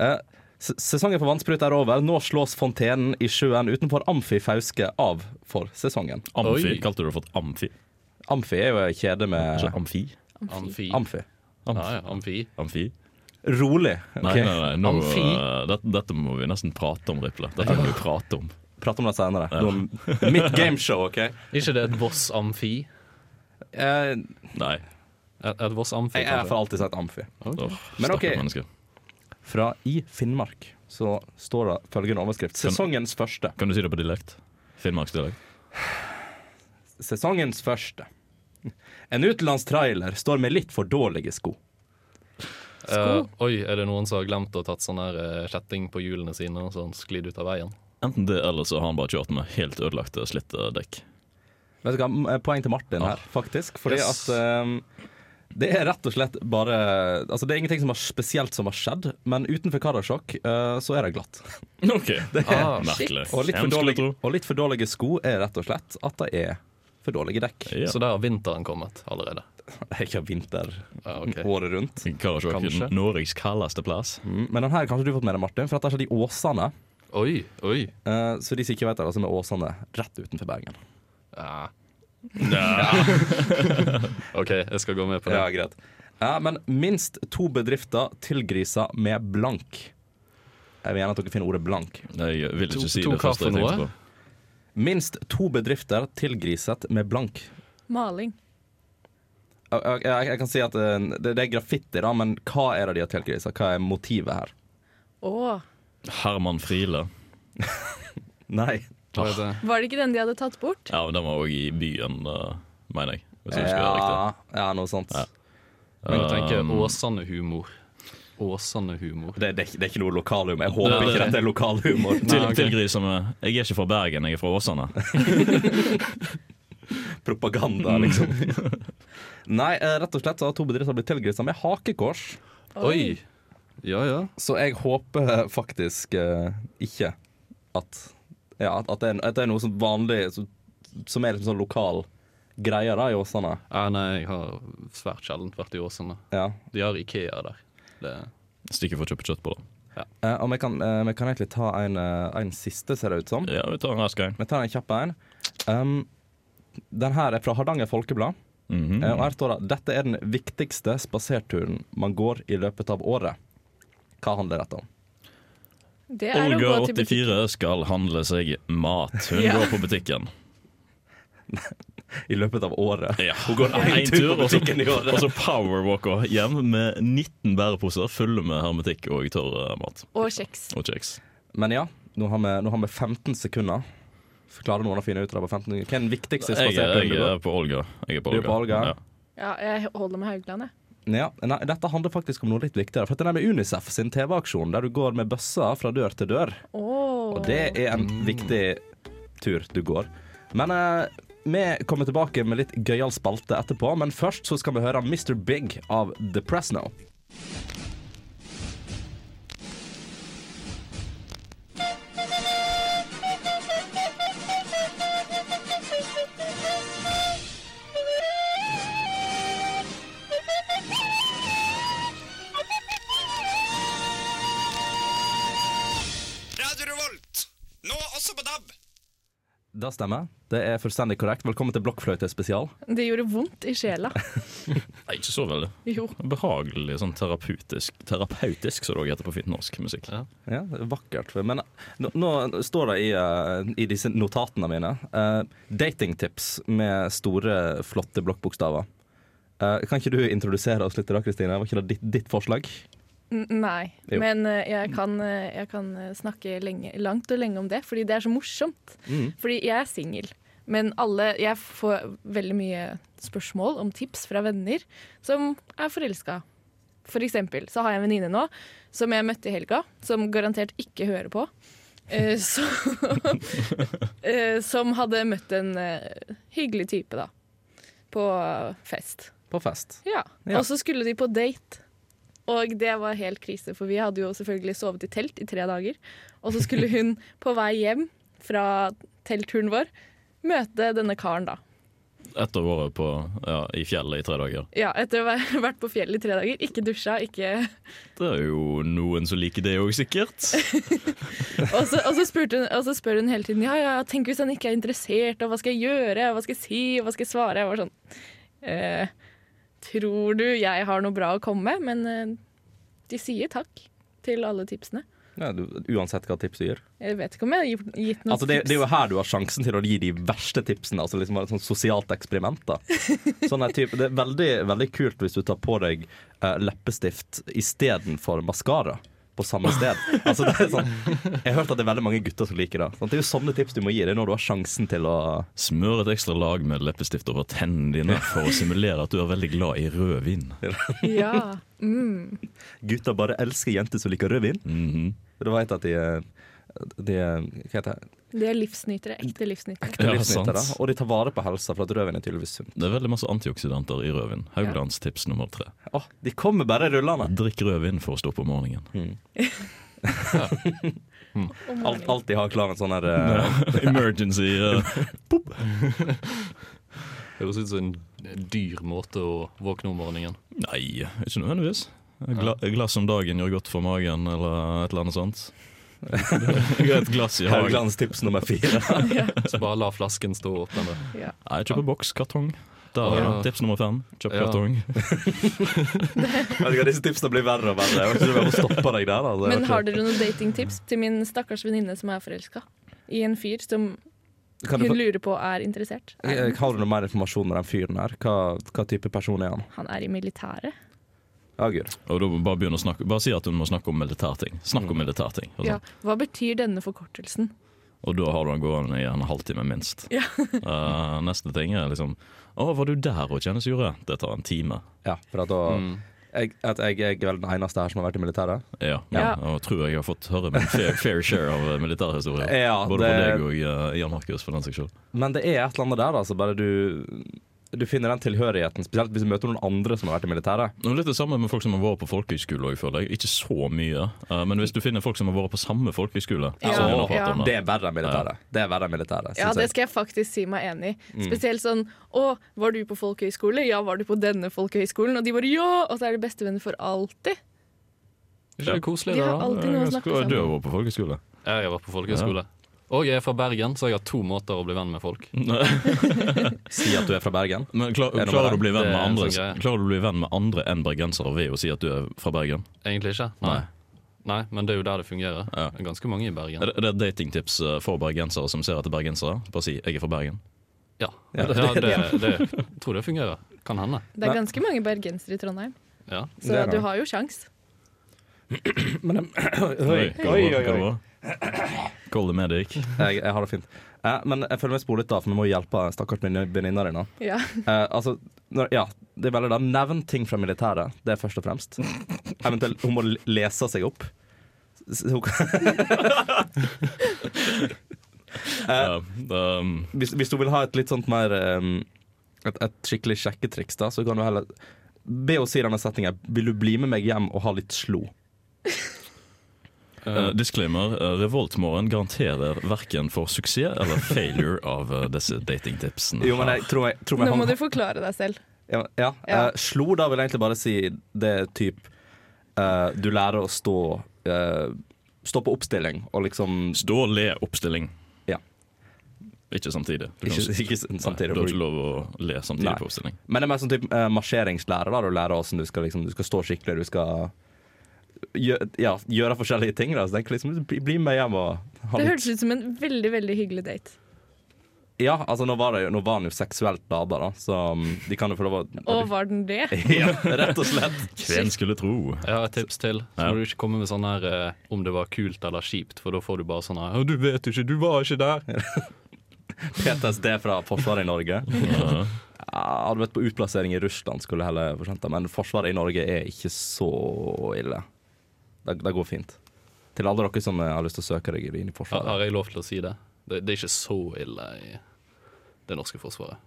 Speaker 1: Eh, se- sesongen for vannsprut er over. Nå slås fontenen i sjøen utenfor Amfi Fauske av for sesongen.
Speaker 2: Amfi,
Speaker 4: Oi.
Speaker 2: kalte du det for et amfi?
Speaker 1: Amfi er jo en kjede
Speaker 2: Ikke
Speaker 1: med
Speaker 2: amfi?
Speaker 4: Amfi.
Speaker 1: Amfi.
Speaker 2: Amf-
Speaker 4: Ja, ja, amfi.
Speaker 2: Amfi?
Speaker 1: Rolig.
Speaker 2: Nei,
Speaker 1: ok?
Speaker 2: nei, nei, nå,
Speaker 4: Amfi.
Speaker 2: eh, dette, dette må vi nesten prate om, Riple. Dette må vi prate om.
Speaker 1: Prate om det senere. Nå- Mitt gameshow, OK?
Speaker 4: Ikke det et Voss Amfi?
Speaker 1: Eh,
Speaker 2: Nei.
Speaker 4: Et, et Voss Amfi,
Speaker 1: jeg har
Speaker 4: kanskje?
Speaker 1: for alltid sagt Amfi.
Speaker 2: Oh,
Speaker 1: Men ok.
Speaker 2: menneske.
Speaker 1: Fra I Finnmark så står det følgende overskrift. Sesongens første.
Speaker 2: Kan du si det på dialekt? Finnmarksdialekt?
Speaker 1: Sesongens første. En utenlandsk trailer står med litt for dårlige sko.
Speaker 4: Eh, oi, er det noen som har glemt å ha tatt sånn her eh, kjetting på hjulene sine, så han sklir ut av veien?
Speaker 2: Enten det, eller så har han bare kjørt med helt ødelagte, slitte dekk.
Speaker 1: Vet du hva, m- eh, Poeng til Martin
Speaker 2: Ah.
Speaker 1: her, faktisk. Fordi
Speaker 4: Yes.
Speaker 1: at ehm, det er rett og slett bare Altså Det er ingenting som har spesielt som har skjedd, men utenfor Karasjok eh, så er det glatt.
Speaker 2: Ok, det er
Speaker 4: Ah,
Speaker 2: merkelig.
Speaker 1: Og litt, for
Speaker 2: Hvem skulle
Speaker 1: dårlige,
Speaker 2: tro?
Speaker 1: og litt for dårlige sko er rett og slett at det er for dårlige dekk.
Speaker 2: Ja.
Speaker 4: Ah, Så der har vinteren kommet allerede.
Speaker 1: Det er ikke vinter
Speaker 4: Ja, ok.
Speaker 1: året rundt.
Speaker 2: Karasjok
Speaker 4: Kanskje.
Speaker 2: er Norges kaldeste plass.
Speaker 1: Mm, Men den her kanskje du har fått med deg, Martin, for dette skjedde i Åsane.
Speaker 4: Oi, oi.
Speaker 1: Eh, så de som ikke vet det, altså med Åsane rett utenfor Bergen.
Speaker 4: Ja. OK, jeg skal gå med på det.
Speaker 1: Ja, greit. Ja, men minst to bedrifter tilgriser med blank. Jeg vil gjerne at dere finner ordet blank.
Speaker 2: Jeg vil
Speaker 4: To-
Speaker 2: ikke si
Speaker 4: to
Speaker 2: det første
Speaker 4: hva for
Speaker 2: jeg tenkte
Speaker 4: noe?
Speaker 2: på.
Speaker 1: Minst to bedrifter tilgriset med blank.
Speaker 3: Maling.
Speaker 1: Jeg, jeg, jeg kan si at eh, det, det er graffiti, da, men hva er det de har tilgriset? Hva er motivet her?
Speaker 3: Å,
Speaker 2: Herman Friele.
Speaker 1: Nei.
Speaker 4: Hva heter det?
Speaker 3: var det ikke den de hadde tatt bort?
Speaker 2: Ja, men den var òg i byen, eh, mener jeg. Hvis
Speaker 1: Sånn
Speaker 2: jeg husker
Speaker 1: Ja, Ah, ja, noe sånt.
Speaker 2: Ja.
Speaker 4: Jeg tenker
Speaker 2: Um,
Speaker 4: Åsane-humor. Åsane-humor.
Speaker 1: Det, det, er ikke- det er ikke noe lokalhumor. Jeg håper ikke dette er lokalhumor.
Speaker 2: riktig. Til,
Speaker 4: Nei, ok.
Speaker 2: Tilgriser med 'Jeg er ikke fra Bergen, jeg er fra Åsane'.
Speaker 1: Propaganda, liksom. Nei, eh, rett og slett så har to bedrifter blitt tilgriset med hakekors.
Speaker 4: Oi! Ja ja.
Speaker 1: Så jeg håper faktisk eh, ikke at, ja, at, at, det er, at det er noe som vanlig som, som er liksom sånn lokal greie da, i Åsane.
Speaker 4: Ja, nei, jeg har svært sjelden vært i Åsane.
Speaker 1: Ja.
Speaker 4: De har Ikea der. Det,
Speaker 2: Stikker for å kjøpe kjøtt på det.
Speaker 1: Eh, og vi kan, eh, vi kan egentlig ta en, eh, en siste, ser det ut som.
Speaker 2: Ja, vi tar en rask en.
Speaker 1: Vi tar en kjapp en. Um, den her er fra Hardanger Folkeblad.
Speaker 2: Mhm.
Speaker 1: Eh, og her står det dette er den viktigste spaserturen man går i løpet av året. Hva handler dette om?
Speaker 3: Det er å
Speaker 2: Olga
Speaker 3: gå til butikken.
Speaker 2: 84 skal handle seg mat. Hun
Speaker 3: Ja.
Speaker 2: går på butikken.
Speaker 1: I løpet av året?
Speaker 2: Ja. Hun går
Speaker 1: en tur på
Speaker 2: og så,
Speaker 1: butikken i året.
Speaker 2: og så powerwalker hjem med 19 bæreposer fulle med hermetikk og tørr eh, mat.
Speaker 3: Og kjeks.
Speaker 2: Og kjeks.
Speaker 1: Men ja, nå har vi, nå har vi 15 sekunder. Klarer noen å finne ut av det på 15 sekunder? Hva er den viktigste
Speaker 2: Jeg, er-
Speaker 1: spaserturen
Speaker 2: jeg
Speaker 1: du går?
Speaker 2: er på Olga. Jeg er på
Speaker 1: Du er på Olga?
Speaker 2: Ja.
Speaker 3: Ja, jeg holder med Haugland, jeg.
Speaker 1: Ja, nei, dette handler faktisk om noe litt viktigere. For dette er med UNICEF sin TV-aksjon, der du går med bøssa fra dør til dør.
Speaker 3: Åh.
Speaker 1: Og det er en
Speaker 2: Mm.
Speaker 1: viktig tur du går. Men eh, vi kommer tilbake med litt gøyal spalte etterpå. Men først så skal vi høre Mr. Big av The Press Now.
Speaker 7: Radio Revolt, nå også på DAB.
Speaker 1: Det stemmer. Det er fullstendig korrekt. Velkommen til Blokkfløyte spesial.
Speaker 3: Det gjorde vondt i sjela.
Speaker 2: Nei, ikke så veldig.
Speaker 3: Jo.
Speaker 2: Behagelig, sånn terapeutisk, terapeutisk som det også heter på fint norsk musikk.
Speaker 4: ja.
Speaker 1: Ja, det er vakkert. Men nå, nå står det i, eh, i disse notatene mine eh, datingtips med store, flotte blokkbokstaver. Eh, kan ikke du introdusere oss litt i dag, Kristine? Var ikke det ditt, ditt forslag?
Speaker 3: N nei.
Speaker 1: Jo.
Speaker 3: Men eh, jeg kan, eh, jeg kan eh, snakke lenge, langt og lenge om det, fordi det er så morsomt. Fordi jeg er singel. Men alle, jeg får veldig mye spørsmål om tips fra venner som er forelska. For eksempel så har jeg en venninne nå som jeg møtte i helga, som garantert ikke hører på. eh, så, eh, som hadde møtt en eh, hyggelig type, da. På fest.
Speaker 1: På fest.
Speaker 3: Ja.
Speaker 1: Ja.
Speaker 3: Og så skulle de på date. Og det var helt krise, for vi hadde jo selvfølgelig sovet i telt i tre dager. Og så skulle hun på vei hjem fra teltturen vår møte denne karen, da.
Speaker 2: Etter året på, ja, i fjellet i tre dager.
Speaker 3: Ja, etter å ha vært på fjellet i tre dager, ikke dusja, ikke
Speaker 2: Det er jo noen som liker det òg, sikkert.
Speaker 3: Og så, og, så spurte hun, og så spør hun hele tiden Ja, ja, tenk hvis han ikke er interessert, og hva skal jeg gjøre, hva skal jeg si, hva skal jeg svare? Jeg var sånn eh, Tror du jeg har noe bra å komme med? Men eh, de sier takk til alle tipsene.
Speaker 1: Ja, du, uansett hva tips du gir.
Speaker 3: Jeg vet ikke om jeg har gitt- gitt noen
Speaker 1: Altså, det,
Speaker 3: tips.
Speaker 1: det er jo her du har sjansen til å gi de verste tipsene. Altså liksom bare et sånt sosialt eksperiment. da sånn her type, Det er veldig, veldig kult hvis du tar på deg eh, leppestift istedenfor maskara. På samme sted. Altså det er sånn, jeg har hørt at det er veldig mange gutter som liker det. Sant? Det er jo sånne tips du må gi. Det er når du har sjansen til å
Speaker 2: Smør et ekstra lag med leppestift over tennene dine for å simulere at du er veldig glad i rødvin.
Speaker 3: Ja. Mm.
Speaker 1: Gutter bare elsker jenter som liker rødvin.
Speaker 2: Mhm.
Speaker 1: Du veit at de, eh, de eh, Hva heter det?
Speaker 3: De er livsnytere. Ekte livsnytere.
Speaker 2: Ja,
Speaker 1: Livsnyttere,
Speaker 2: sant.
Speaker 1: Og de tar vare på helsa, for at rødvin er tydeligvis sunt.
Speaker 2: Det er veldig masse antioksidanter i rødvin. Hauglands tips nummer tre.
Speaker 1: Å, de kommer bare rullende!
Speaker 2: Drikk rødvin for å stå opp om morgenen.
Speaker 3: Om
Speaker 1: Alt,
Speaker 3: morgenen.
Speaker 1: alltid har klar en sånn her eh,
Speaker 2: Emergency. eh,
Speaker 4: Høres ut som en dyr måte å våkne om morgenen.
Speaker 2: Nei, ikke nødvendigvis. Gla glass om dagen gjør godt for magen, eller et eller annet sånt. Et glass i hagen.
Speaker 1: Hauglands tips nummer fire.
Speaker 4: Så bare la flasken stå åpen. da.
Speaker 3: Ja.
Speaker 2: Nei, kjøp en boks kartong. Der er
Speaker 4: Ja.
Speaker 2: det. Tips nummer fem. Kjøp
Speaker 4: Ja.
Speaker 2: kartong.
Speaker 1: Vet du hva, Disse tipsene blir verre og verre. Jeg vet ikke om jeg må stoppe deg der. Altså.
Speaker 3: Men har dere noen datingtips til min stakkars venninne som er forelska i en fyr som
Speaker 1: Kan du
Speaker 3: hun
Speaker 1: få-
Speaker 3: lurer på er interessert?
Speaker 1: Eh, har du noe mer informasjon om den fyren her? Hva, hva type person er han?
Speaker 3: Han er i militæret.
Speaker 1: Ja, gud.
Speaker 2: Og da bare begynn å snakke Bare si at hun må snakke om militærting. Snakk om militærting. Og,
Speaker 3: Ja.
Speaker 2: sånn.
Speaker 3: Hva betyr denne forkortelsen?
Speaker 2: og da har du den gående i en halvtime minst.
Speaker 3: Ja.
Speaker 2: Eh, neste ting er liksom Å, var du der og kjennes jorde? Det tar en time.
Speaker 1: Ja, for at da jeg, at jeg, jeg er vel den eneste her som har vært i militæret.
Speaker 2: Ja,
Speaker 3: Ja.
Speaker 2: Og tror jeg har fått høre min fair, fair share av eh, militærhistorie.
Speaker 1: Ja,
Speaker 2: Både
Speaker 1: det-
Speaker 2: fra deg og eh, Jan Markus, for den saks skyld.
Speaker 1: Men det er et eller annet der, altså. Bare du, du finner den tilhørigheten. Spesielt hvis du møter noen andre som har vært i militæret.
Speaker 2: Det er litt det samme med folk som har vært på folkehøyskole òg, føler jeg. Ikke så mye, eh, men hvis du finner folk som har vært på samme folkehøyskole
Speaker 3: Ja.
Speaker 2: som vi nå
Speaker 3: Ja.
Speaker 2: prater om, da.
Speaker 1: Det er verre enn militæret. Det er verre enn militæret,
Speaker 3: Ja,
Speaker 1: synes
Speaker 3: det
Speaker 1: jeg. Mm.
Speaker 3: skal jeg faktisk si meg enig i. Spesielt sånn Å, var du på folkehøyskole? Ja, var du på denne folkehøyskolen? Og de bare ja! Og så er de bestevenner for alltid.
Speaker 4: Er ikke det koselig?
Speaker 3: De
Speaker 4: det,
Speaker 3: har
Speaker 4: da?
Speaker 3: alltid noe å snakke
Speaker 2: Du har
Speaker 3: sammen om.
Speaker 2: vært på folkehøyskole?
Speaker 4: Jeg har vært på folkehøyskole. Og jeg er fra Bergen, så jeg har to måter å bli venn med folk.
Speaker 2: Mm.
Speaker 1: Si at du er fra Bergen.
Speaker 2: Men klar,
Speaker 1: Er det noe
Speaker 2: klarer, du å
Speaker 1: med
Speaker 2: bli venn
Speaker 4: Det
Speaker 2: med
Speaker 4: er en
Speaker 2: andre,
Speaker 4: sånn greie.
Speaker 2: klarer du å bli venn med andre enn bergensere ved å si at du er fra Bergen?
Speaker 4: Egentlig ikke. Nei. Nei, men det er jo der det fungerer.
Speaker 2: Ja.
Speaker 4: Det er ganske mange i Bergen.
Speaker 2: Er det, er det et datingtips eh, for bergensere som ser etter bergensere? Bare si 'jeg er fra Bergen'.
Speaker 4: Ja, ja det, det, tror det fungerer. Kan hende.
Speaker 3: Det er ganske mange bergensere i Trondheim,
Speaker 4: Ja.
Speaker 1: Det
Speaker 3: så
Speaker 1: er det.
Speaker 3: du har jo sjans.
Speaker 1: Men de-
Speaker 2: hva
Speaker 1: oi,
Speaker 2: det var-
Speaker 1: oi,
Speaker 2: hva det
Speaker 1: oi.
Speaker 2: var? Call the medic.
Speaker 1: Jeg, jeg har det fint. Eh, men jeg føler meg sporet, da, for vi må hjelpe stakkars venninna di nå.
Speaker 3: Ja.
Speaker 1: Eh, altså, når, ja, det er veldig da Nevn ting fra militæret, det er først og fremst. Eventuelt hun må l- lese seg opp. S- hun kan-
Speaker 2: Ja, um,
Speaker 1: hvis, hvis du vil ha et litt sånt mer ehm, et, et skikkelig sjekketriks, da, så kan du heller Be henne si denne setningen 'Vil du bli med meg hjem og ha litt slo?'
Speaker 2: eh, disclaimer. eh, Revoltmorgen garanterer verken for suksess eller failure av eh, disse datingtipsene.
Speaker 1: Jo, men jeg tror jeg, tror jeg
Speaker 3: Nå må du forklare deg selv.
Speaker 1: Ja, ja.
Speaker 3: Ja.
Speaker 1: Eh, slo da vil jeg egentlig bare si det er typ eh, Du lærer å stå eh, Stå på oppstilling og liksom
Speaker 2: Stå og le oppstilling.
Speaker 1: Ja.
Speaker 2: Ikke samtidig. Du kan-
Speaker 1: Ikke, ikke samtidig.
Speaker 2: Nei, Du har ikke lov å le samtidig
Speaker 1: Nei.
Speaker 2: på oppstilling.
Speaker 1: Men det er mer sånn typ, eh, marsjeringslære. da Du lærer hvordan du skal, liksom, du skal stå skikkelig, du skal gjø ja, gjøre forskjellige ting. Da. Så tenk liksom, bli bli med hjem og ha
Speaker 3: Det
Speaker 1: litt
Speaker 3: hørtes ut som en veldig, veldig hyggelig date.
Speaker 1: Ja, altså nå var, det, jo- nå var han jo seksuelt lada, da, så mm, de kan jo få lov å
Speaker 3: Og var den det?
Speaker 1: Ja, rett og slett.
Speaker 2: Hvem skulle tro?
Speaker 4: Jeg har et tips til. Så må
Speaker 2: Ja.
Speaker 4: du ikke komme med sånn her eh, om det var kult eller kjipt, for da får du bare sånn her «Å, Du vet jo ikke, du var ikke der!
Speaker 1: PTSD fra Forsvaret i Norge.
Speaker 2: Ja.
Speaker 1: Ja, hadde vært på utplassering i Russland, skulle jeg heller fortjent det. Men Forsvaret i Norge er ikke så ille. Det, det går fint. Til alle dere som eh, har lyst til å søke deg inn i
Speaker 4: Har-
Speaker 1: Forsvaret.
Speaker 4: Har jeg lov til å si det? det? Det er ikke så ille i det norske forsvaret.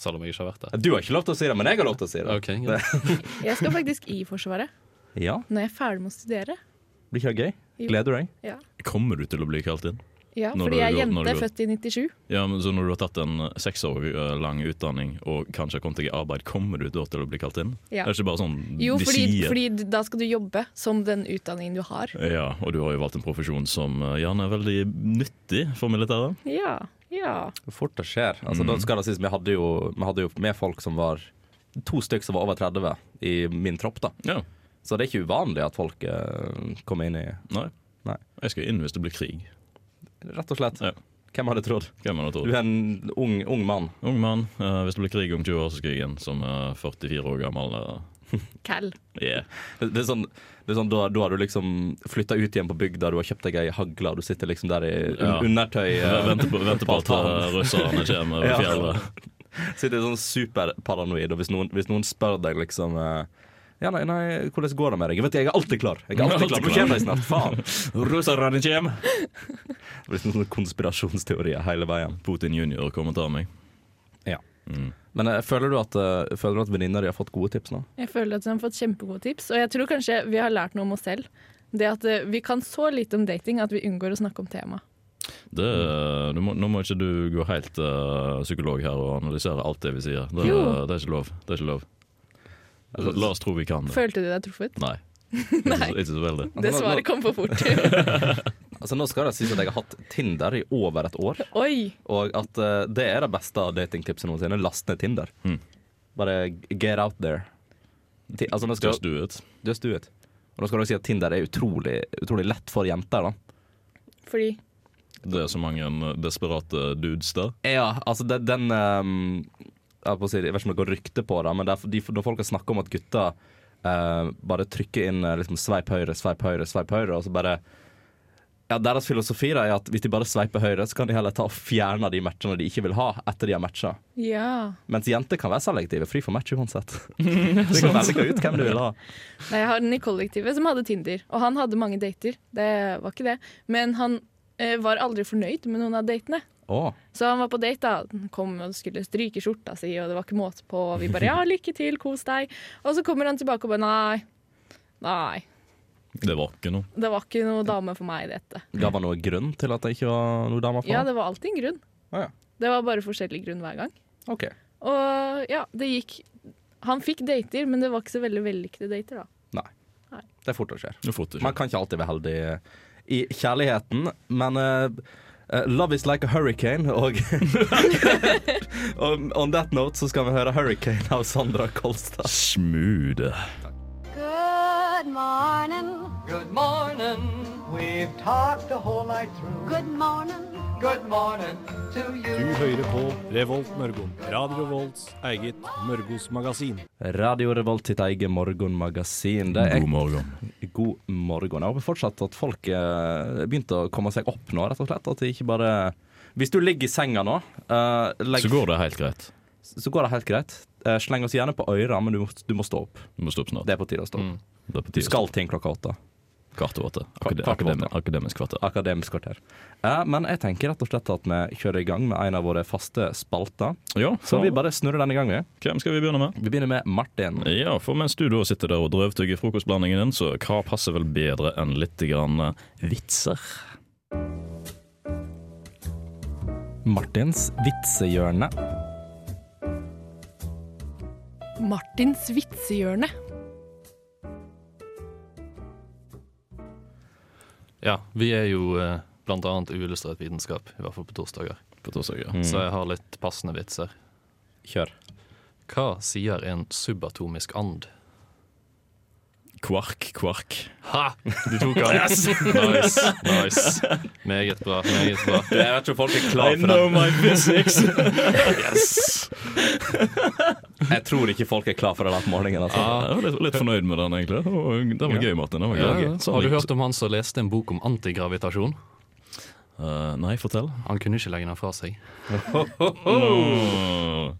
Speaker 4: Selv om jeg ikke har vært der.
Speaker 1: Du har ikke lov til å si det, men jeg har lov til å si det.
Speaker 4: Ok, greit.
Speaker 3: Jeg skal faktisk i Forsvaret.
Speaker 1: Ja,
Speaker 3: når jeg er ferdig med å studere.
Speaker 1: blir ikke det gøy?
Speaker 3: Jo.
Speaker 1: Gleder du deg?
Speaker 3: Ja,
Speaker 2: Kommer du til å bli kalt inn?
Speaker 3: ja
Speaker 2: Når
Speaker 3: fordi
Speaker 2: du
Speaker 3: jeg er
Speaker 2: går- når du
Speaker 3: jente,
Speaker 2: går-
Speaker 3: født i 97.
Speaker 2: Ja, men Så når du har tatt en eh, seks år eh, lang utdanning og kanskje har kommet deg i arbeid, kommer du da til å bli kalt inn?
Speaker 3: Ja.
Speaker 2: Det er ikke bare sånn
Speaker 3: Jo,
Speaker 2: de
Speaker 3: fordi,
Speaker 2: sier.
Speaker 3: fordi d- da skal du jobbe som den utdanningen du har.
Speaker 2: Ja, og du har jo valgt en profesjon som eh, gjerne er veldig nyttig for militæret.
Speaker 3: Ja, ja.
Speaker 1: Fort det skjer. Altså, da skal det sies, vi hadde, jo, vi hadde jo med folk som var To stykker som var over 30 i min tropp, da.
Speaker 2: Ja,
Speaker 1: Så det er ikke uvanlig at folk eh, kommer inn i
Speaker 2: nei.
Speaker 1: Nei.
Speaker 2: Jeg skal inn hvis det blir krig.
Speaker 1: Rett og slett.
Speaker 2: Ja.
Speaker 1: Hvem hadde trodd?
Speaker 2: Hvem hadde
Speaker 1: Du
Speaker 2: trodd?
Speaker 1: er en ung, ung mann.
Speaker 2: Ung mann, eh, hvis det blir krig om 20 år, så skal jeg inn som eh, 44 år gammel. eh,
Speaker 3: Cal.
Speaker 2: Yeah.
Speaker 1: Det, det er sånn, det er sånn da, da har du liksom flytta ut igjen på bygda, du har kjøpt deg ei hagle, og du sitter liksom der i un
Speaker 2: Ja.
Speaker 1: undertøy. eh,
Speaker 2: Vente på, vente på at eh, russerne kommer over
Speaker 1: Ja.
Speaker 2: fjellet.
Speaker 1: Sitter sånn superparanoid, og hvis noen, hvis noen spør deg liksom eh, ja, nei, nei, hvordan går det med deg? Jeg vet jeg er alltid klar. Jeg er alltid klar, Nå kommer jeg snart, faen!
Speaker 2: Russerne kommer!
Speaker 1: Det blir sånn konspirasjonsteorier hele veien.
Speaker 2: Putin junior kommer til meg.
Speaker 1: Ja.
Speaker 2: Mm.
Speaker 1: Men eh, føler du at, uh, føler du at venninna di har fått gode tips nå?
Speaker 3: Jeg føler at hun har fått kjempegode tips, og jeg tror kanskje vi har lært noe om oss selv. Det at eh, Vi kan så lite om dating at vi unngår å snakke om temaet.
Speaker 2: Det, eh, du må, nå må ikke du gå helt eh, psykolog her og analysere alt det vi sier. Det, eh,
Speaker 3: Jo.
Speaker 2: det er ikke lov. Det er ikke lov. La oss tro vi kan det.
Speaker 3: Følte du deg truffet?
Speaker 2: Nei. Ikke, så, ikke så veldig.
Speaker 3: Det svaret kom for fort.
Speaker 1: Altså Nå skal det sies at jeg har hatt Tinder i over et år,
Speaker 3: Oi!
Speaker 1: og at eh, det er det beste datingtipset noensinne. Last ned Tinder.
Speaker 2: Mm.
Speaker 1: Bare get out there. Ti, altså nå skal
Speaker 2: Just do it.
Speaker 1: Just do it. Og da skal du si at Tinder er utrolig, utrolig lett for jenter. da
Speaker 3: Fordi
Speaker 2: Det er så mange eh, desperate dudes der.
Speaker 1: Ja, altså den, den ehm, jeg, holdt på å si, jeg vet ikke om det går rykte på det, men det er for- de, når folk har snakket om at gutta eh, bare trykker inn eh, liksom, sveip høyre, sveip høyre, sveip høyre, og så bare ja, Deres filosofi da, er at hvis de bare sveiper høyre, så kan de heller ta og fjerne de matchene de ikke vil ha, etter de har matcha.
Speaker 3: Ja.
Speaker 1: Mens jenter kan være selektive, for de får match uansett. Du kan velge ut hvem du vil ha.
Speaker 3: Nei, jeg har den i kollektivet som hadde Tinder, og han hadde mange dater. Det var ikke det. Men han eh, var aldri fornøyd med noen av datene.
Speaker 1: Åh,
Speaker 3: Så han var på date, da. Han kom og skulle stryke skjorta si, og det var ikke måte på. Og vi bare 'ja, lykke til, kos deg'. Og så kommer han tilbake og bare 'nei, nei,
Speaker 2: Det var ikke noe.
Speaker 3: det var ikke noe dame for meg i dette'.
Speaker 1: Ga han noe grunn til at det ikke var noe damer for
Speaker 3: Ja,
Speaker 1: ham?
Speaker 3: det var alltid en grunn.
Speaker 1: Å ja.
Speaker 3: Det var bare forskjellig grunn hver gang.
Speaker 1: Ok.
Speaker 3: Og ja, det gikk Han fikk dater, men det var ikke så veldig vellykkede dater, da.
Speaker 1: Nei.
Speaker 3: Nei.
Speaker 1: Det er fort det skjer.
Speaker 2: Det er fort å
Speaker 1: Man
Speaker 2: skje.
Speaker 1: kan ikke alltid være heldig i kjærligheten, men eh, eh, love is like a hurricane, og on, on that note så skal vi høre 'Hurricane' av Sandra Kolstad.
Speaker 2: Smooth.
Speaker 5: Good morning. Good morning. We've talked the whole night through. Good morning. Good morning to you.
Speaker 8: Du hører på Revolt Mørgon. Radio Revolts eget Mørgos magasin.
Speaker 1: Radio Revolt sitt eget morgenmagasin. Det er
Speaker 2: God morgen.
Speaker 1: god morgen. Jeg håper fortsatt at folk eh, begynte å komme seg opp nå, rett og slett. At de ikke bare Hvis du ligger i senga nå, eh, legg,
Speaker 2: Så går det helt greit.
Speaker 1: så går det helt greit. Eh, sleng oss gjerne på øra, men du må, du må stå opp.
Speaker 2: Du må stoppe snart.
Speaker 1: Det er på tide å stå opp.
Speaker 2: Det er på
Speaker 1: Du
Speaker 2: tide.
Speaker 1: skal ting klokka åtte.
Speaker 2: Kvart over åtte.
Speaker 1: Kvart-
Speaker 2: Akade-
Speaker 1: kvart over åtte.
Speaker 2: akademi- Akademisk kvarter.
Speaker 1: Akademisk kvarter. Eh, men jeg tenker rett og slett at vi kjører i gang med en av våre faste spalter.
Speaker 2: Ja,
Speaker 1: Så vi bare snurrer den i gang. Vi
Speaker 2: Hvem skal vi begynne med?
Speaker 1: Vi begynner med Martin.
Speaker 2: Ja, for mens du da sitter der og drøvtygger frokostblandingen din, så hva passer vel bedre enn litt grann eh, vitser?
Speaker 1: Martins vitsehjørne.
Speaker 3: Martins vitsehjørne.
Speaker 4: Ja, vi er jo eh, blant annet uillustrert vitenskap, i hvert fall på torsdager. Mm.
Speaker 2: På torsdager.
Speaker 4: Så jeg har litt passende vitser.
Speaker 1: Kjør.
Speaker 4: Hva sier en subatomisk and?
Speaker 2: Kvark, kvark.
Speaker 4: Ha! Du tok den. Nice. nice. Meget bra. meget bra.
Speaker 1: Jeg vet ikke om folk er klar for den.
Speaker 2: my physics!
Speaker 1: Jeg tror ikke folk er klar for den her på morgenen. Altså.
Speaker 2: Ja, jeg var litt, litt fornøyd med den, egentlig. Det var, det var gøy, Martin. Det var gøy. Så
Speaker 4: Har du hørt om han som leste en bok om antigravitasjon?
Speaker 2: Eh, nei, fortell.
Speaker 4: Han kunne ikke legge den fra seg.
Speaker 2: Mm.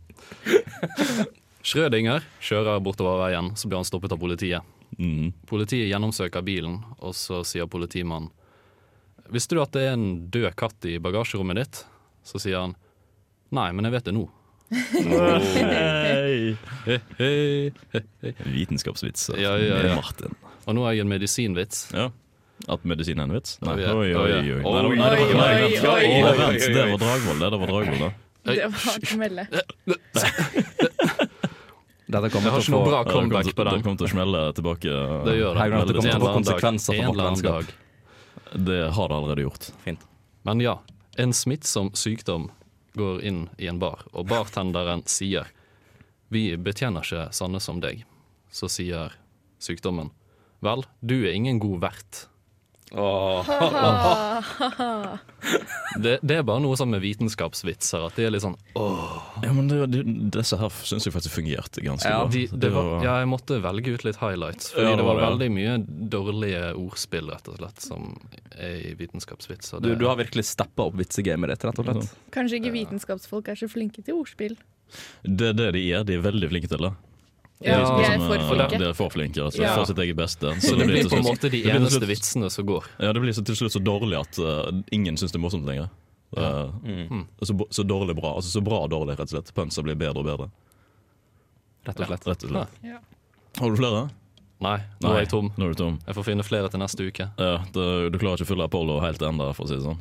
Speaker 4: Schrødinger kjører bortover veien, så blir han stoppet av politiet.
Speaker 2: Mm.
Speaker 4: Politiet gjennomsøker bilen, og så sier politimannen Visste du at det er en død katt i bagasjerommet ditt? Så sier han Nei, men jeg vet det nå.
Speaker 2: Hei.
Speaker 4: Hei, hei.
Speaker 2: Vitenskapsvitser
Speaker 4: Ja, ja, ja.
Speaker 2: med Martin.
Speaker 4: Og nå har jeg en medisinvits.
Speaker 2: Ja. At medisin er en vits? Nei,
Speaker 4: Oi,
Speaker 2: oi,
Speaker 4: ja.
Speaker 2: oi, oi. Nei, det var-
Speaker 4: Oi,
Speaker 2: nei, det var- nei,
Speaker 3: oi,
Speaker 2: vent. Å,
Speaker 3: oi,
Speaker 4: oi,
Speaker 2: vent,
Speaker 4: oi, oi.
Speaker 2: Det var Dragvoll, det. Det var Dragvoll, da.
Speaker 3: Det var hardt å melde.
Speaker 1: Dette
Speaker 4: Jeg
Speaker 1: kommer
Speaker 4: har
Speaker 1: til å
Speaker 4: ikke noe
Speaker 1: få
Speaker 4: bra
Speaker 2: Ja, det kommer
Speaker 4: comeback på
Speaker 2: til- Det
Speaker 4: den.
Speaker 2: kommer til å smelle tilbake. eh,
Speaker 4: Det gjør
Speaker 1: Hei,
Speaker 4: det.
Speaker 1: Grant, det kommer til å få
Speaker 4: En eller annen dag.
Speaker 1: konsekvenser for
Speaker 4: En eller
Speaker 1: vårt
Speaker 4: annen dag.
Speaker 2: Det har det allerede gjort.
Speaker 1: Fint.
Speaker 4: Men ja, en smittsom sykdom går inn i en bar, og bartenderen sier Vi betjener ikke sanne som deg. Så sier sykdommen Vel, du er ingen god vert. Det, det er bare noe sånn med vitenskapsvitser at det er litt sånn
Speaker 2: Ja, men det, det, Disse her syns jeg faktisk fungerte ganske
Speaker 1: Ja,
Speaker 2: bra.
Speaker 4: de,
Speaker 2: Så
Speaker 4: det var,
Speaker 2: ja.
Speaker 4: Ja, jeg måtte velge ut litt highlights, fordi
Speaker 2: Ja,
Speaker 4: det var
Speaker 2: det var
Speaker 4: veldig mye dårlige ordspill, rett og slett, som er i vitenskapsvitser.
Speaker 1: Du,
Speaker 4: Det-
Speaker 1: du har virkelig steppa opp vitsegamet ditt, rett og slett.
Speaker 3: Kanskje ikke vitenskapsfolk er så flinke til ordspill.
Speaker 2: Det er det de er. De er veldig flinke til det.
Speaker 3: Ja,
Speaker 4: Ja,
Speaker 3: jeg er for
Speaker 2: eh,
Speaker 3: flinke.
Speaker 2: De er for flinke, altså.
Speaker 3: Ja.
Speaker 2: For sitt eget beste.
Speaker 4: Så det blir på en
Speaker 2: til slutt-
Speaker 4: måte
Speaker 2: det
Speaker 4: de
Speaker 2: blir til
Speaker 4: eneste
Speaker 2: slutt-
Speaker 4: vitsene som går.
Speaker 2: Ja, det blir så, til slutt så dårlig at eh, ingen syns det er morsomt lenger. Eh, mm. så, bo- så dårlig bra. Altså så bra dårlig, rett og slett. Punsa blir bedre og bedre.
Speaker 1: Rett og slett.
Speaker 2: Rett og slett.
Speaker 3: Ja.
Speaker 2: Har du flere?
Speaker 4: Nei, nå er jeg tom.
Speaker 2: Nå er du tom.
Speaker 4: Jeg får finne flere til neste uke.
Speaker 2: Ja, det, du klarer ikke å fylle Apollo helt ennå, for å si det sånn.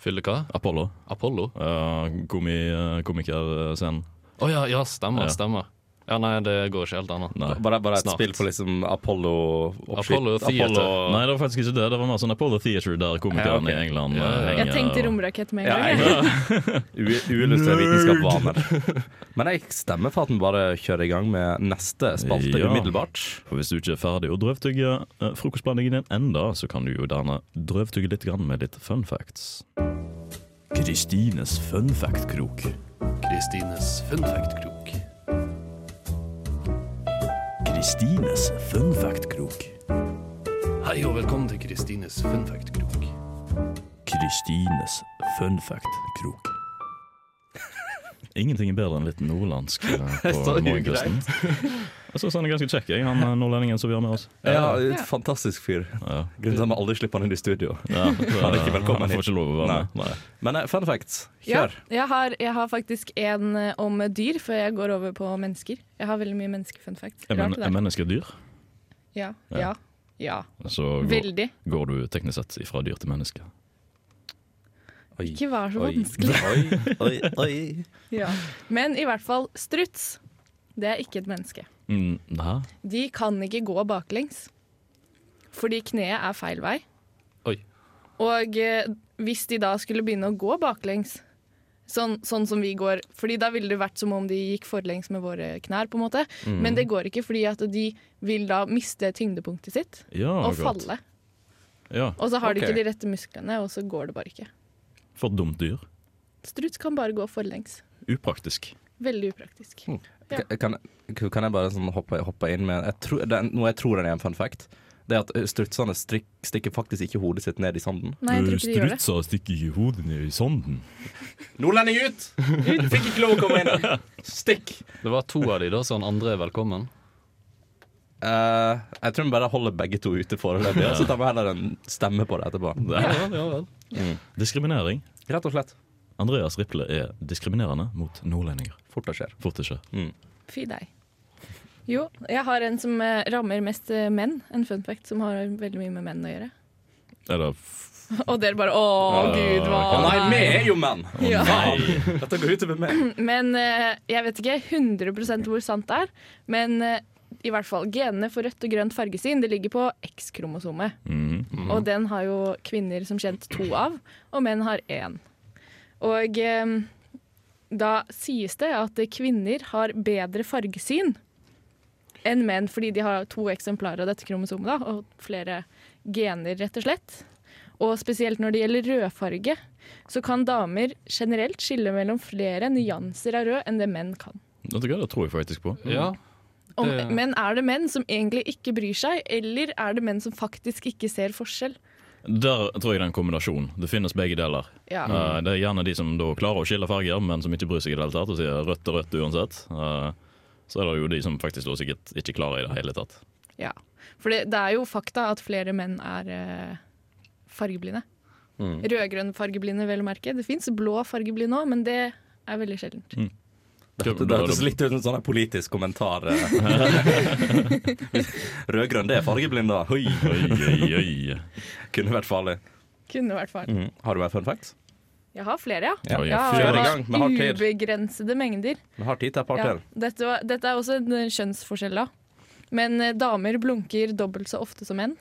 Speaker 4: Fylle hva?
Speaker 2: Apollo.
Speaker 4: Apollo?
Speaker 2: Uh, komi, uh, komikerscenen.
Speaker 4: Å ja, ja, stemmer,
Speaker 2: Ja.
Speaker 4: stemmer. Ja, nei, det går ikke helt annet.
Speaker 2: Nei.
Speaker 1: Bare, bare et
Speaker 4: Snart.
Speaker 1: spill på liksom Apollo oppskyt-
Speaker 4: Apollo Theater.
Speaker 2: Nei, det var faktisk ikke det. Det var mer sånn Apollo Theatre der komikerne
Speaker 1: Ja, ok.
Speaker 2: i England
Speaker 4: Ja, ja,
Speaker 2: eh,
Speaker 4: ja.
Speaker 2: henger.
Speaker 3: Jeg tenkte
Speaker 2: og-
Speaker 3: romrakett med
Speaker 1: Ja,
Speaker 3: en gang.
Speaker 1: jeg U- Uillustrert vitenskap vaner. Men jeg stemmer for at den bare kjører i gang med neste spalte
Speaker 2: Ja.
Speaker 1: umiddelbart.
Speaker 2: For hvis du ikke er ferdig å drøvtygge eh, frokostblandingen din enda, så kan du jo gjerne drøvtygge litt grann med litt fun facts. Kristines fun fact-krok.
Speaker 4: Kristines fun fact-krok.
Speaker 2: Kristines fun fact-krok.
Speaker 4: Hei og velkommen til Kristines fun fact-krok.
Speaker 2: Kristines fun fact-krok. Ingenting er bedre enn litt nordlandsk eh, på
Speaker 4: Så
Speaker 2: morgenkvisten. Jeg syns han er ganske kjekk, jeg, han eh, nordlendingen som vi har med oss.
Speaker 1: Ja, et Fantastisk fyr.
Speaker 2: Ja.
Speaker 1: Grunnen til at vi aldri slipper han inn i studio.
Speaker 2: Ja, han
Speaker 1: er ikke velkommen
Speaker 2: Han
Speaker 1: hit.
Speaker 2: får ikke lov å være med. Nei.
Speaker 1: Men eh, fun fact.
Speaker 3: Ja,
Speaker 1: Kjør.
Speaker 3: jeg har, jeg har faktisk en eh, om dyr før jeg går over på mennesker. Jeg har veldig mye menneskefun fact.
Speaker 2: Er, men,
Speaker 3: Rart det
Speaker 2: er
Speaker 3: der.
Speaker 2: mennesker dyr?
Speaker 3: Ja, ja, ja.
Speaker 2: Så går,
Speaker 3: Veldig.
Speaker 2: går du teknisk sett fra dyr til menneske.
Speaker 1: Oi.
Speaker 3: Ikke vær så
Speaker 1: Oi.
Speaker 3: vanskelig.
Speaker 1: Oi, oi, oi.
Speaker 3: Ja. Men i hvert fall, struts, det er ikke et menneske.
Speaker 2: Mm, Hæ?
Speaker 3: De kan ikke gå baklengs, fordi kneet er feil vei.
Speaker 4: Oi.
Speaker 3: Og eh, hvis de da skulle begynne å gå baklengs, sånn, sånn som vi går Fordi da ville det vært som om de gikk forlengs med våre knær, på en måte. Men det går ikke, fordi at de vil da miste tyngdepunktet sitt
Speaker 2: Ja,
Speaker 3: og
Speaker 2: Ah, godt.
Speaker 3: falle.
Speaker 2: Ja,
Speaker 3: Og så har
Speaker 1: Ok.
Speaker 3: de ikke de rette musklene, og så går det bare ikke.
Speaker 2: For et dumt dyr.
Speaker 3: Struts kan bare gå forlengs.
Speaker 2: Upraktisk.
Speaker 3: Veldig upraktisk.
Speaker 1: K- Kan, kan jeg bare sånn hoppe, hoppe inn med jeg tror, det er, Noe jeg tror er en fun fact, det er at strutsene strik, stikker faktisk ikke hodet sitt ned i sanden.
Speaker 3: Nei, jeg tror ikke de gjør det.
Speaker 2: stikker ikke hodet ned i sanden.
Speaker 1: Nordlending ut! Du fikk ikke lov å komme inn! Stikk!
Speaker 4: Det var to av de da, så han andre er velkommen.
Speaker 1: Eh, jeg tror vi bare holder begge to ute foreløpig, og så tar vi heller en stemme på det etterpå.
Speaker 4: Ja vel, ja vel.
Speaker 2: Diskriminering.
Speaker 1: Rett og slett.
Speaker 2: Andreas Riple er diskriminerende mot nordlendinger.
Speaker 1: Fort det skjer.
Speaker 2: Fort ikke.
Speaker 3: Fy deg. Jo, jeg har en som eh, rammer mest eh, menn. En fun fact som har veldig mye med menn å gjøre.
Speaker 2: Er det f...
Speaker 3: Og dere bare Å, gud, hva
Speaker 1: Å nei, vi er jo menn!
Speaker 3: Ja.
Speaker 2: Nei!
Speaker 1: Dette går utover meg.
Speaker 3: Men eh, jeg vet ikke 100 hvor sant det er. Men eh, i hvert fall genene for rødt og grønt fargesyn det ligger på X-kromosomet. Og den har jo kvinner som kjent to av, og menn har én. Og eh, da sies det at kvinner har bedre fargesyn enn menn, fordi de har to eksemplarer av dette kromosomet, da, og flere gener, rett og slett. Og spesielt når det gjelder rødfarge, så kan damer generelt skille mellom flere nyanser av rød enn det menn kan.
Speaker 2: Vet du hva, det tror jeg faktisk på.
Speaker 4: Ja,
Speaker 3: Om,
Speaker 4: Det-
Speaker 3: Men er det menn som egentlig ikke bryr seg, eller er det menn som faktisk ikke ser forskjell?
Speaker 2: Der tror jeg det er en kombinasjon. Det finnes begge deler.
Speaker 3: Mm. Ja.
Speaker 2: Eh, det er gjerne de som da klarer å skille farger, men som ikke bryr seg i det hele tatt, og sier rødt er rødt uansett. Eh, så er det jo de som faktisk da sikkert ikke klarer i det hele tatt.
Speaker 3: ja. For det, det er jo fakta at flere menn er eh, fargeblinde. Rødgrønn fargeblinde, vel å merke. Det fins blå fargeblinde òg, men det er veldig sjeldent.
Speaker 1: Det hørtes det hørtes litt ut som en sånn her politisk kommentar. eh. Rød-grønn, det er fargeblind, da. Oi,
Speaker 2: Oi, oi, oi.
Speaker 1: kunne vært farlig.
Speaker 3: Kunne vært farlig.
Speaker 1: Mm. Har du mer fun facts?
Speaker 3: Jeg har flere, ja.
Speaker 2: Ja, ja,
Speaker 1: fyr i
Speaker 3: jeg
Speaker 1: gang, vi har tid.
Speaker 3: ubegrensede mengder.
Speaker 1: Vi har tid til et par
Speaker 3: Ja,
Speaker 1: til.
Speaker 3: dette, var, dette er også en eh, kjønnsforskjell, da. Men eh, damer blunker dobbelt så ofte som menn.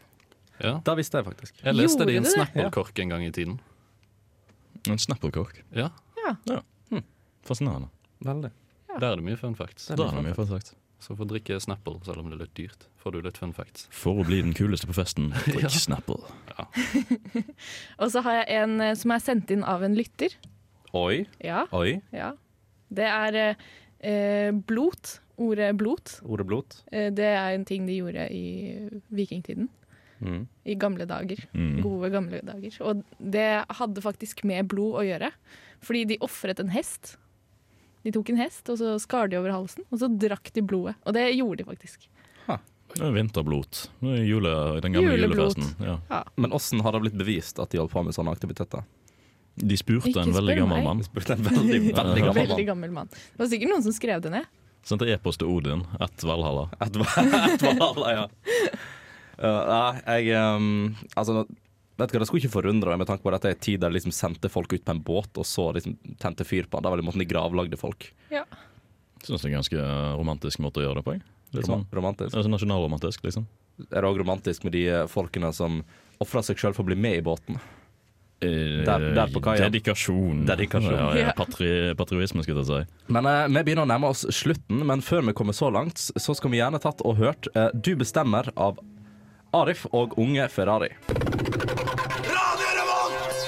Speaker 4: Ja.
Speaker 1: Da visste jeg faktisk.
Speaker 4: Jeg leste
Speaker 3: Gjorde
Speaker 4: det i en
Speaker 3: du det?
Speaker 4: Snapple-kork en gang i tiden.
Speaker 2: En snapperkork.
Speaker 4: Ja,
Speaker 2: Fascinerende.
Speaker 1: Veldig.
Speaker 4: Der er det mye fun facts.
Speaker 2: Da er det mye fun facts.
Speaker 4: Så få drikke Snapple selv om det er litt dyrt. Får du litt fun facts.
Speaker 2: For å bli den kuleste på festen, drikk snapple.
Speaker 3: Og så har jeg en eh, som er sendt inn av en lytter.
Speaker 1: Oi,
Speaker 3: Ja,
Speaker 1: oi.
Speaker 3: ja. Det er eh, eh, blot. Ordet blot.
Speaker 1: Ordet blot.
Speaker 3: Eh, det er en ting de gjorde i vikingtiden.
Speaker 1: Mm.
Speaker 3: I gamle dager.
Speaker 2: Mm.
Speaker 3: Gode, gamle dager. Og det hadde faktisk med blod å gjøre. Fordi de ofret en hest. De tok en hest, og så skar de over halsen, og så drakk de blodet. Og det gjorde de faktisk.
Speaker 2: Det er Vinterblot. Det er Jule, den gamle
Speaker 3: Juleblot.
Speaker 2: julefesten. Ja.
Speaker 1: Men åssen har det blitt bevist at de holdt på med sånne aktiviteter?
Speaker 2: De spurte
Speaker 3: Ikke
Speaker 2: en veldig
Speaker 3: spør
Speaker 2: gammel
Speaker 3: meg.
Speaker 2: mann.
Speaker 1: Spurte en veldig, veldig gammel
Speaker 3: Veldig
Speaker 1: mann.
Speaker 3: gammel mann. Det var sikkert noen som skrev det ned.
Speaker 2: Sendte e-post til Odin, ett Valhalla.
Speaker 1: Et val- et valhalla, ja. Uh, nei, jeg um, Altså, vet du hva, det skulle ikke forundre meg med tanke på at dette er en tid der de liksom sendte folk ut på en båt, og så liksom tente fyr på den. Det var vel måten de gravlagde folk.
Speaker 2: Syns det er en ganske romantisk måte å gjøre det på. Jeg. Litt
Speaker 1: Rom
Speaker 2: sånn.
Speaker 1: romantisk.
Speaker 2: Altså nasjonalromantisk, liksom.
Speaker 1: Er det òg romantisk med de eh, folkene som ofra seg sjøl for å bli med i båten?
Speaker 2: Der,
Speaker 1: der på kaia.
Speaker 2: Eh, Dedikasjon.
Speaker 1: Dedikasjon.
Speaker 2: Ja, ja,
Speaker 3: Ja.
Speaker 2: patri, patriotisme, skulle jeg si.
Speaker 1: Men eh, vi begynner å nærme oss slutten, men før vi kommer så langt, så skal vi gjerne tatt og hørt eh, Du bestemmer av Arif og Unge Ferrari.
Speaker 7: Radio Revolt!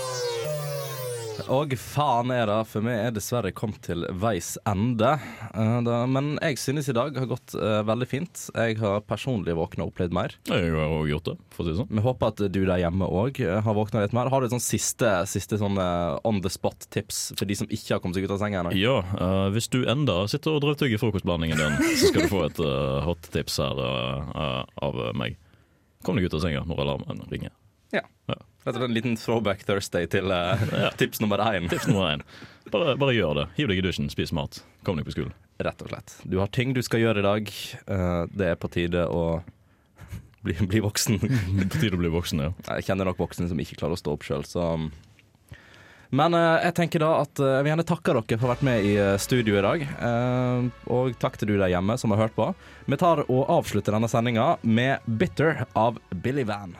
Speaker 7: Faen!
Speaker 1: Og faen er det, for vi er dessverre kommet til veis ende. Eh, da, men jeg synes i dag har gått eh, veldig fint. Jeg har personlig våkna og opplevd mer.
Speaker 2: Jeg har også gjort det, for å si det sånn.
Speaker 1: Vi håper at du der hjemme òg har våkna litt mer. Har du et sånn siste, siste sånn eh, on the spot-tips for de som ikke har kommet seg ut av senga ennå?
Speaker 2: Ja, eh, hvis du enda sitter og drøvtygger frokostblandingen din, så skal du få et eh, hot tips her eh, eh, av meg. Kom deg ut av senga når alarmen ringer.
Speaker 1: Rett og slett en liten throwback Thursday til eh, tips nummer én.
Speaker 2: Tips nummer én. Bare, bare gjør det. Hiv deg i dusjen, spis mat. Kom deg på skolen.
Speaker 1: Rett og slett. Du har ting du skal gjøre i dag. Eh, det er på tide å bli, bli voksen.
Speaker 2: Det er På tide å bli voksen, ja.
Speaker 1: Jeg kjenner nok voksne som ikke klarer å stå opp sjøl, så mm. Men eh, jeg tenker da at eh, jeg vil gjerne takke dere for å ha vært med i eh, studio i dag. Eh, og takk til du der hjemme som har hørt på. Vi tar og avslutter denne sendinga med 'Bitter' av Billy Van.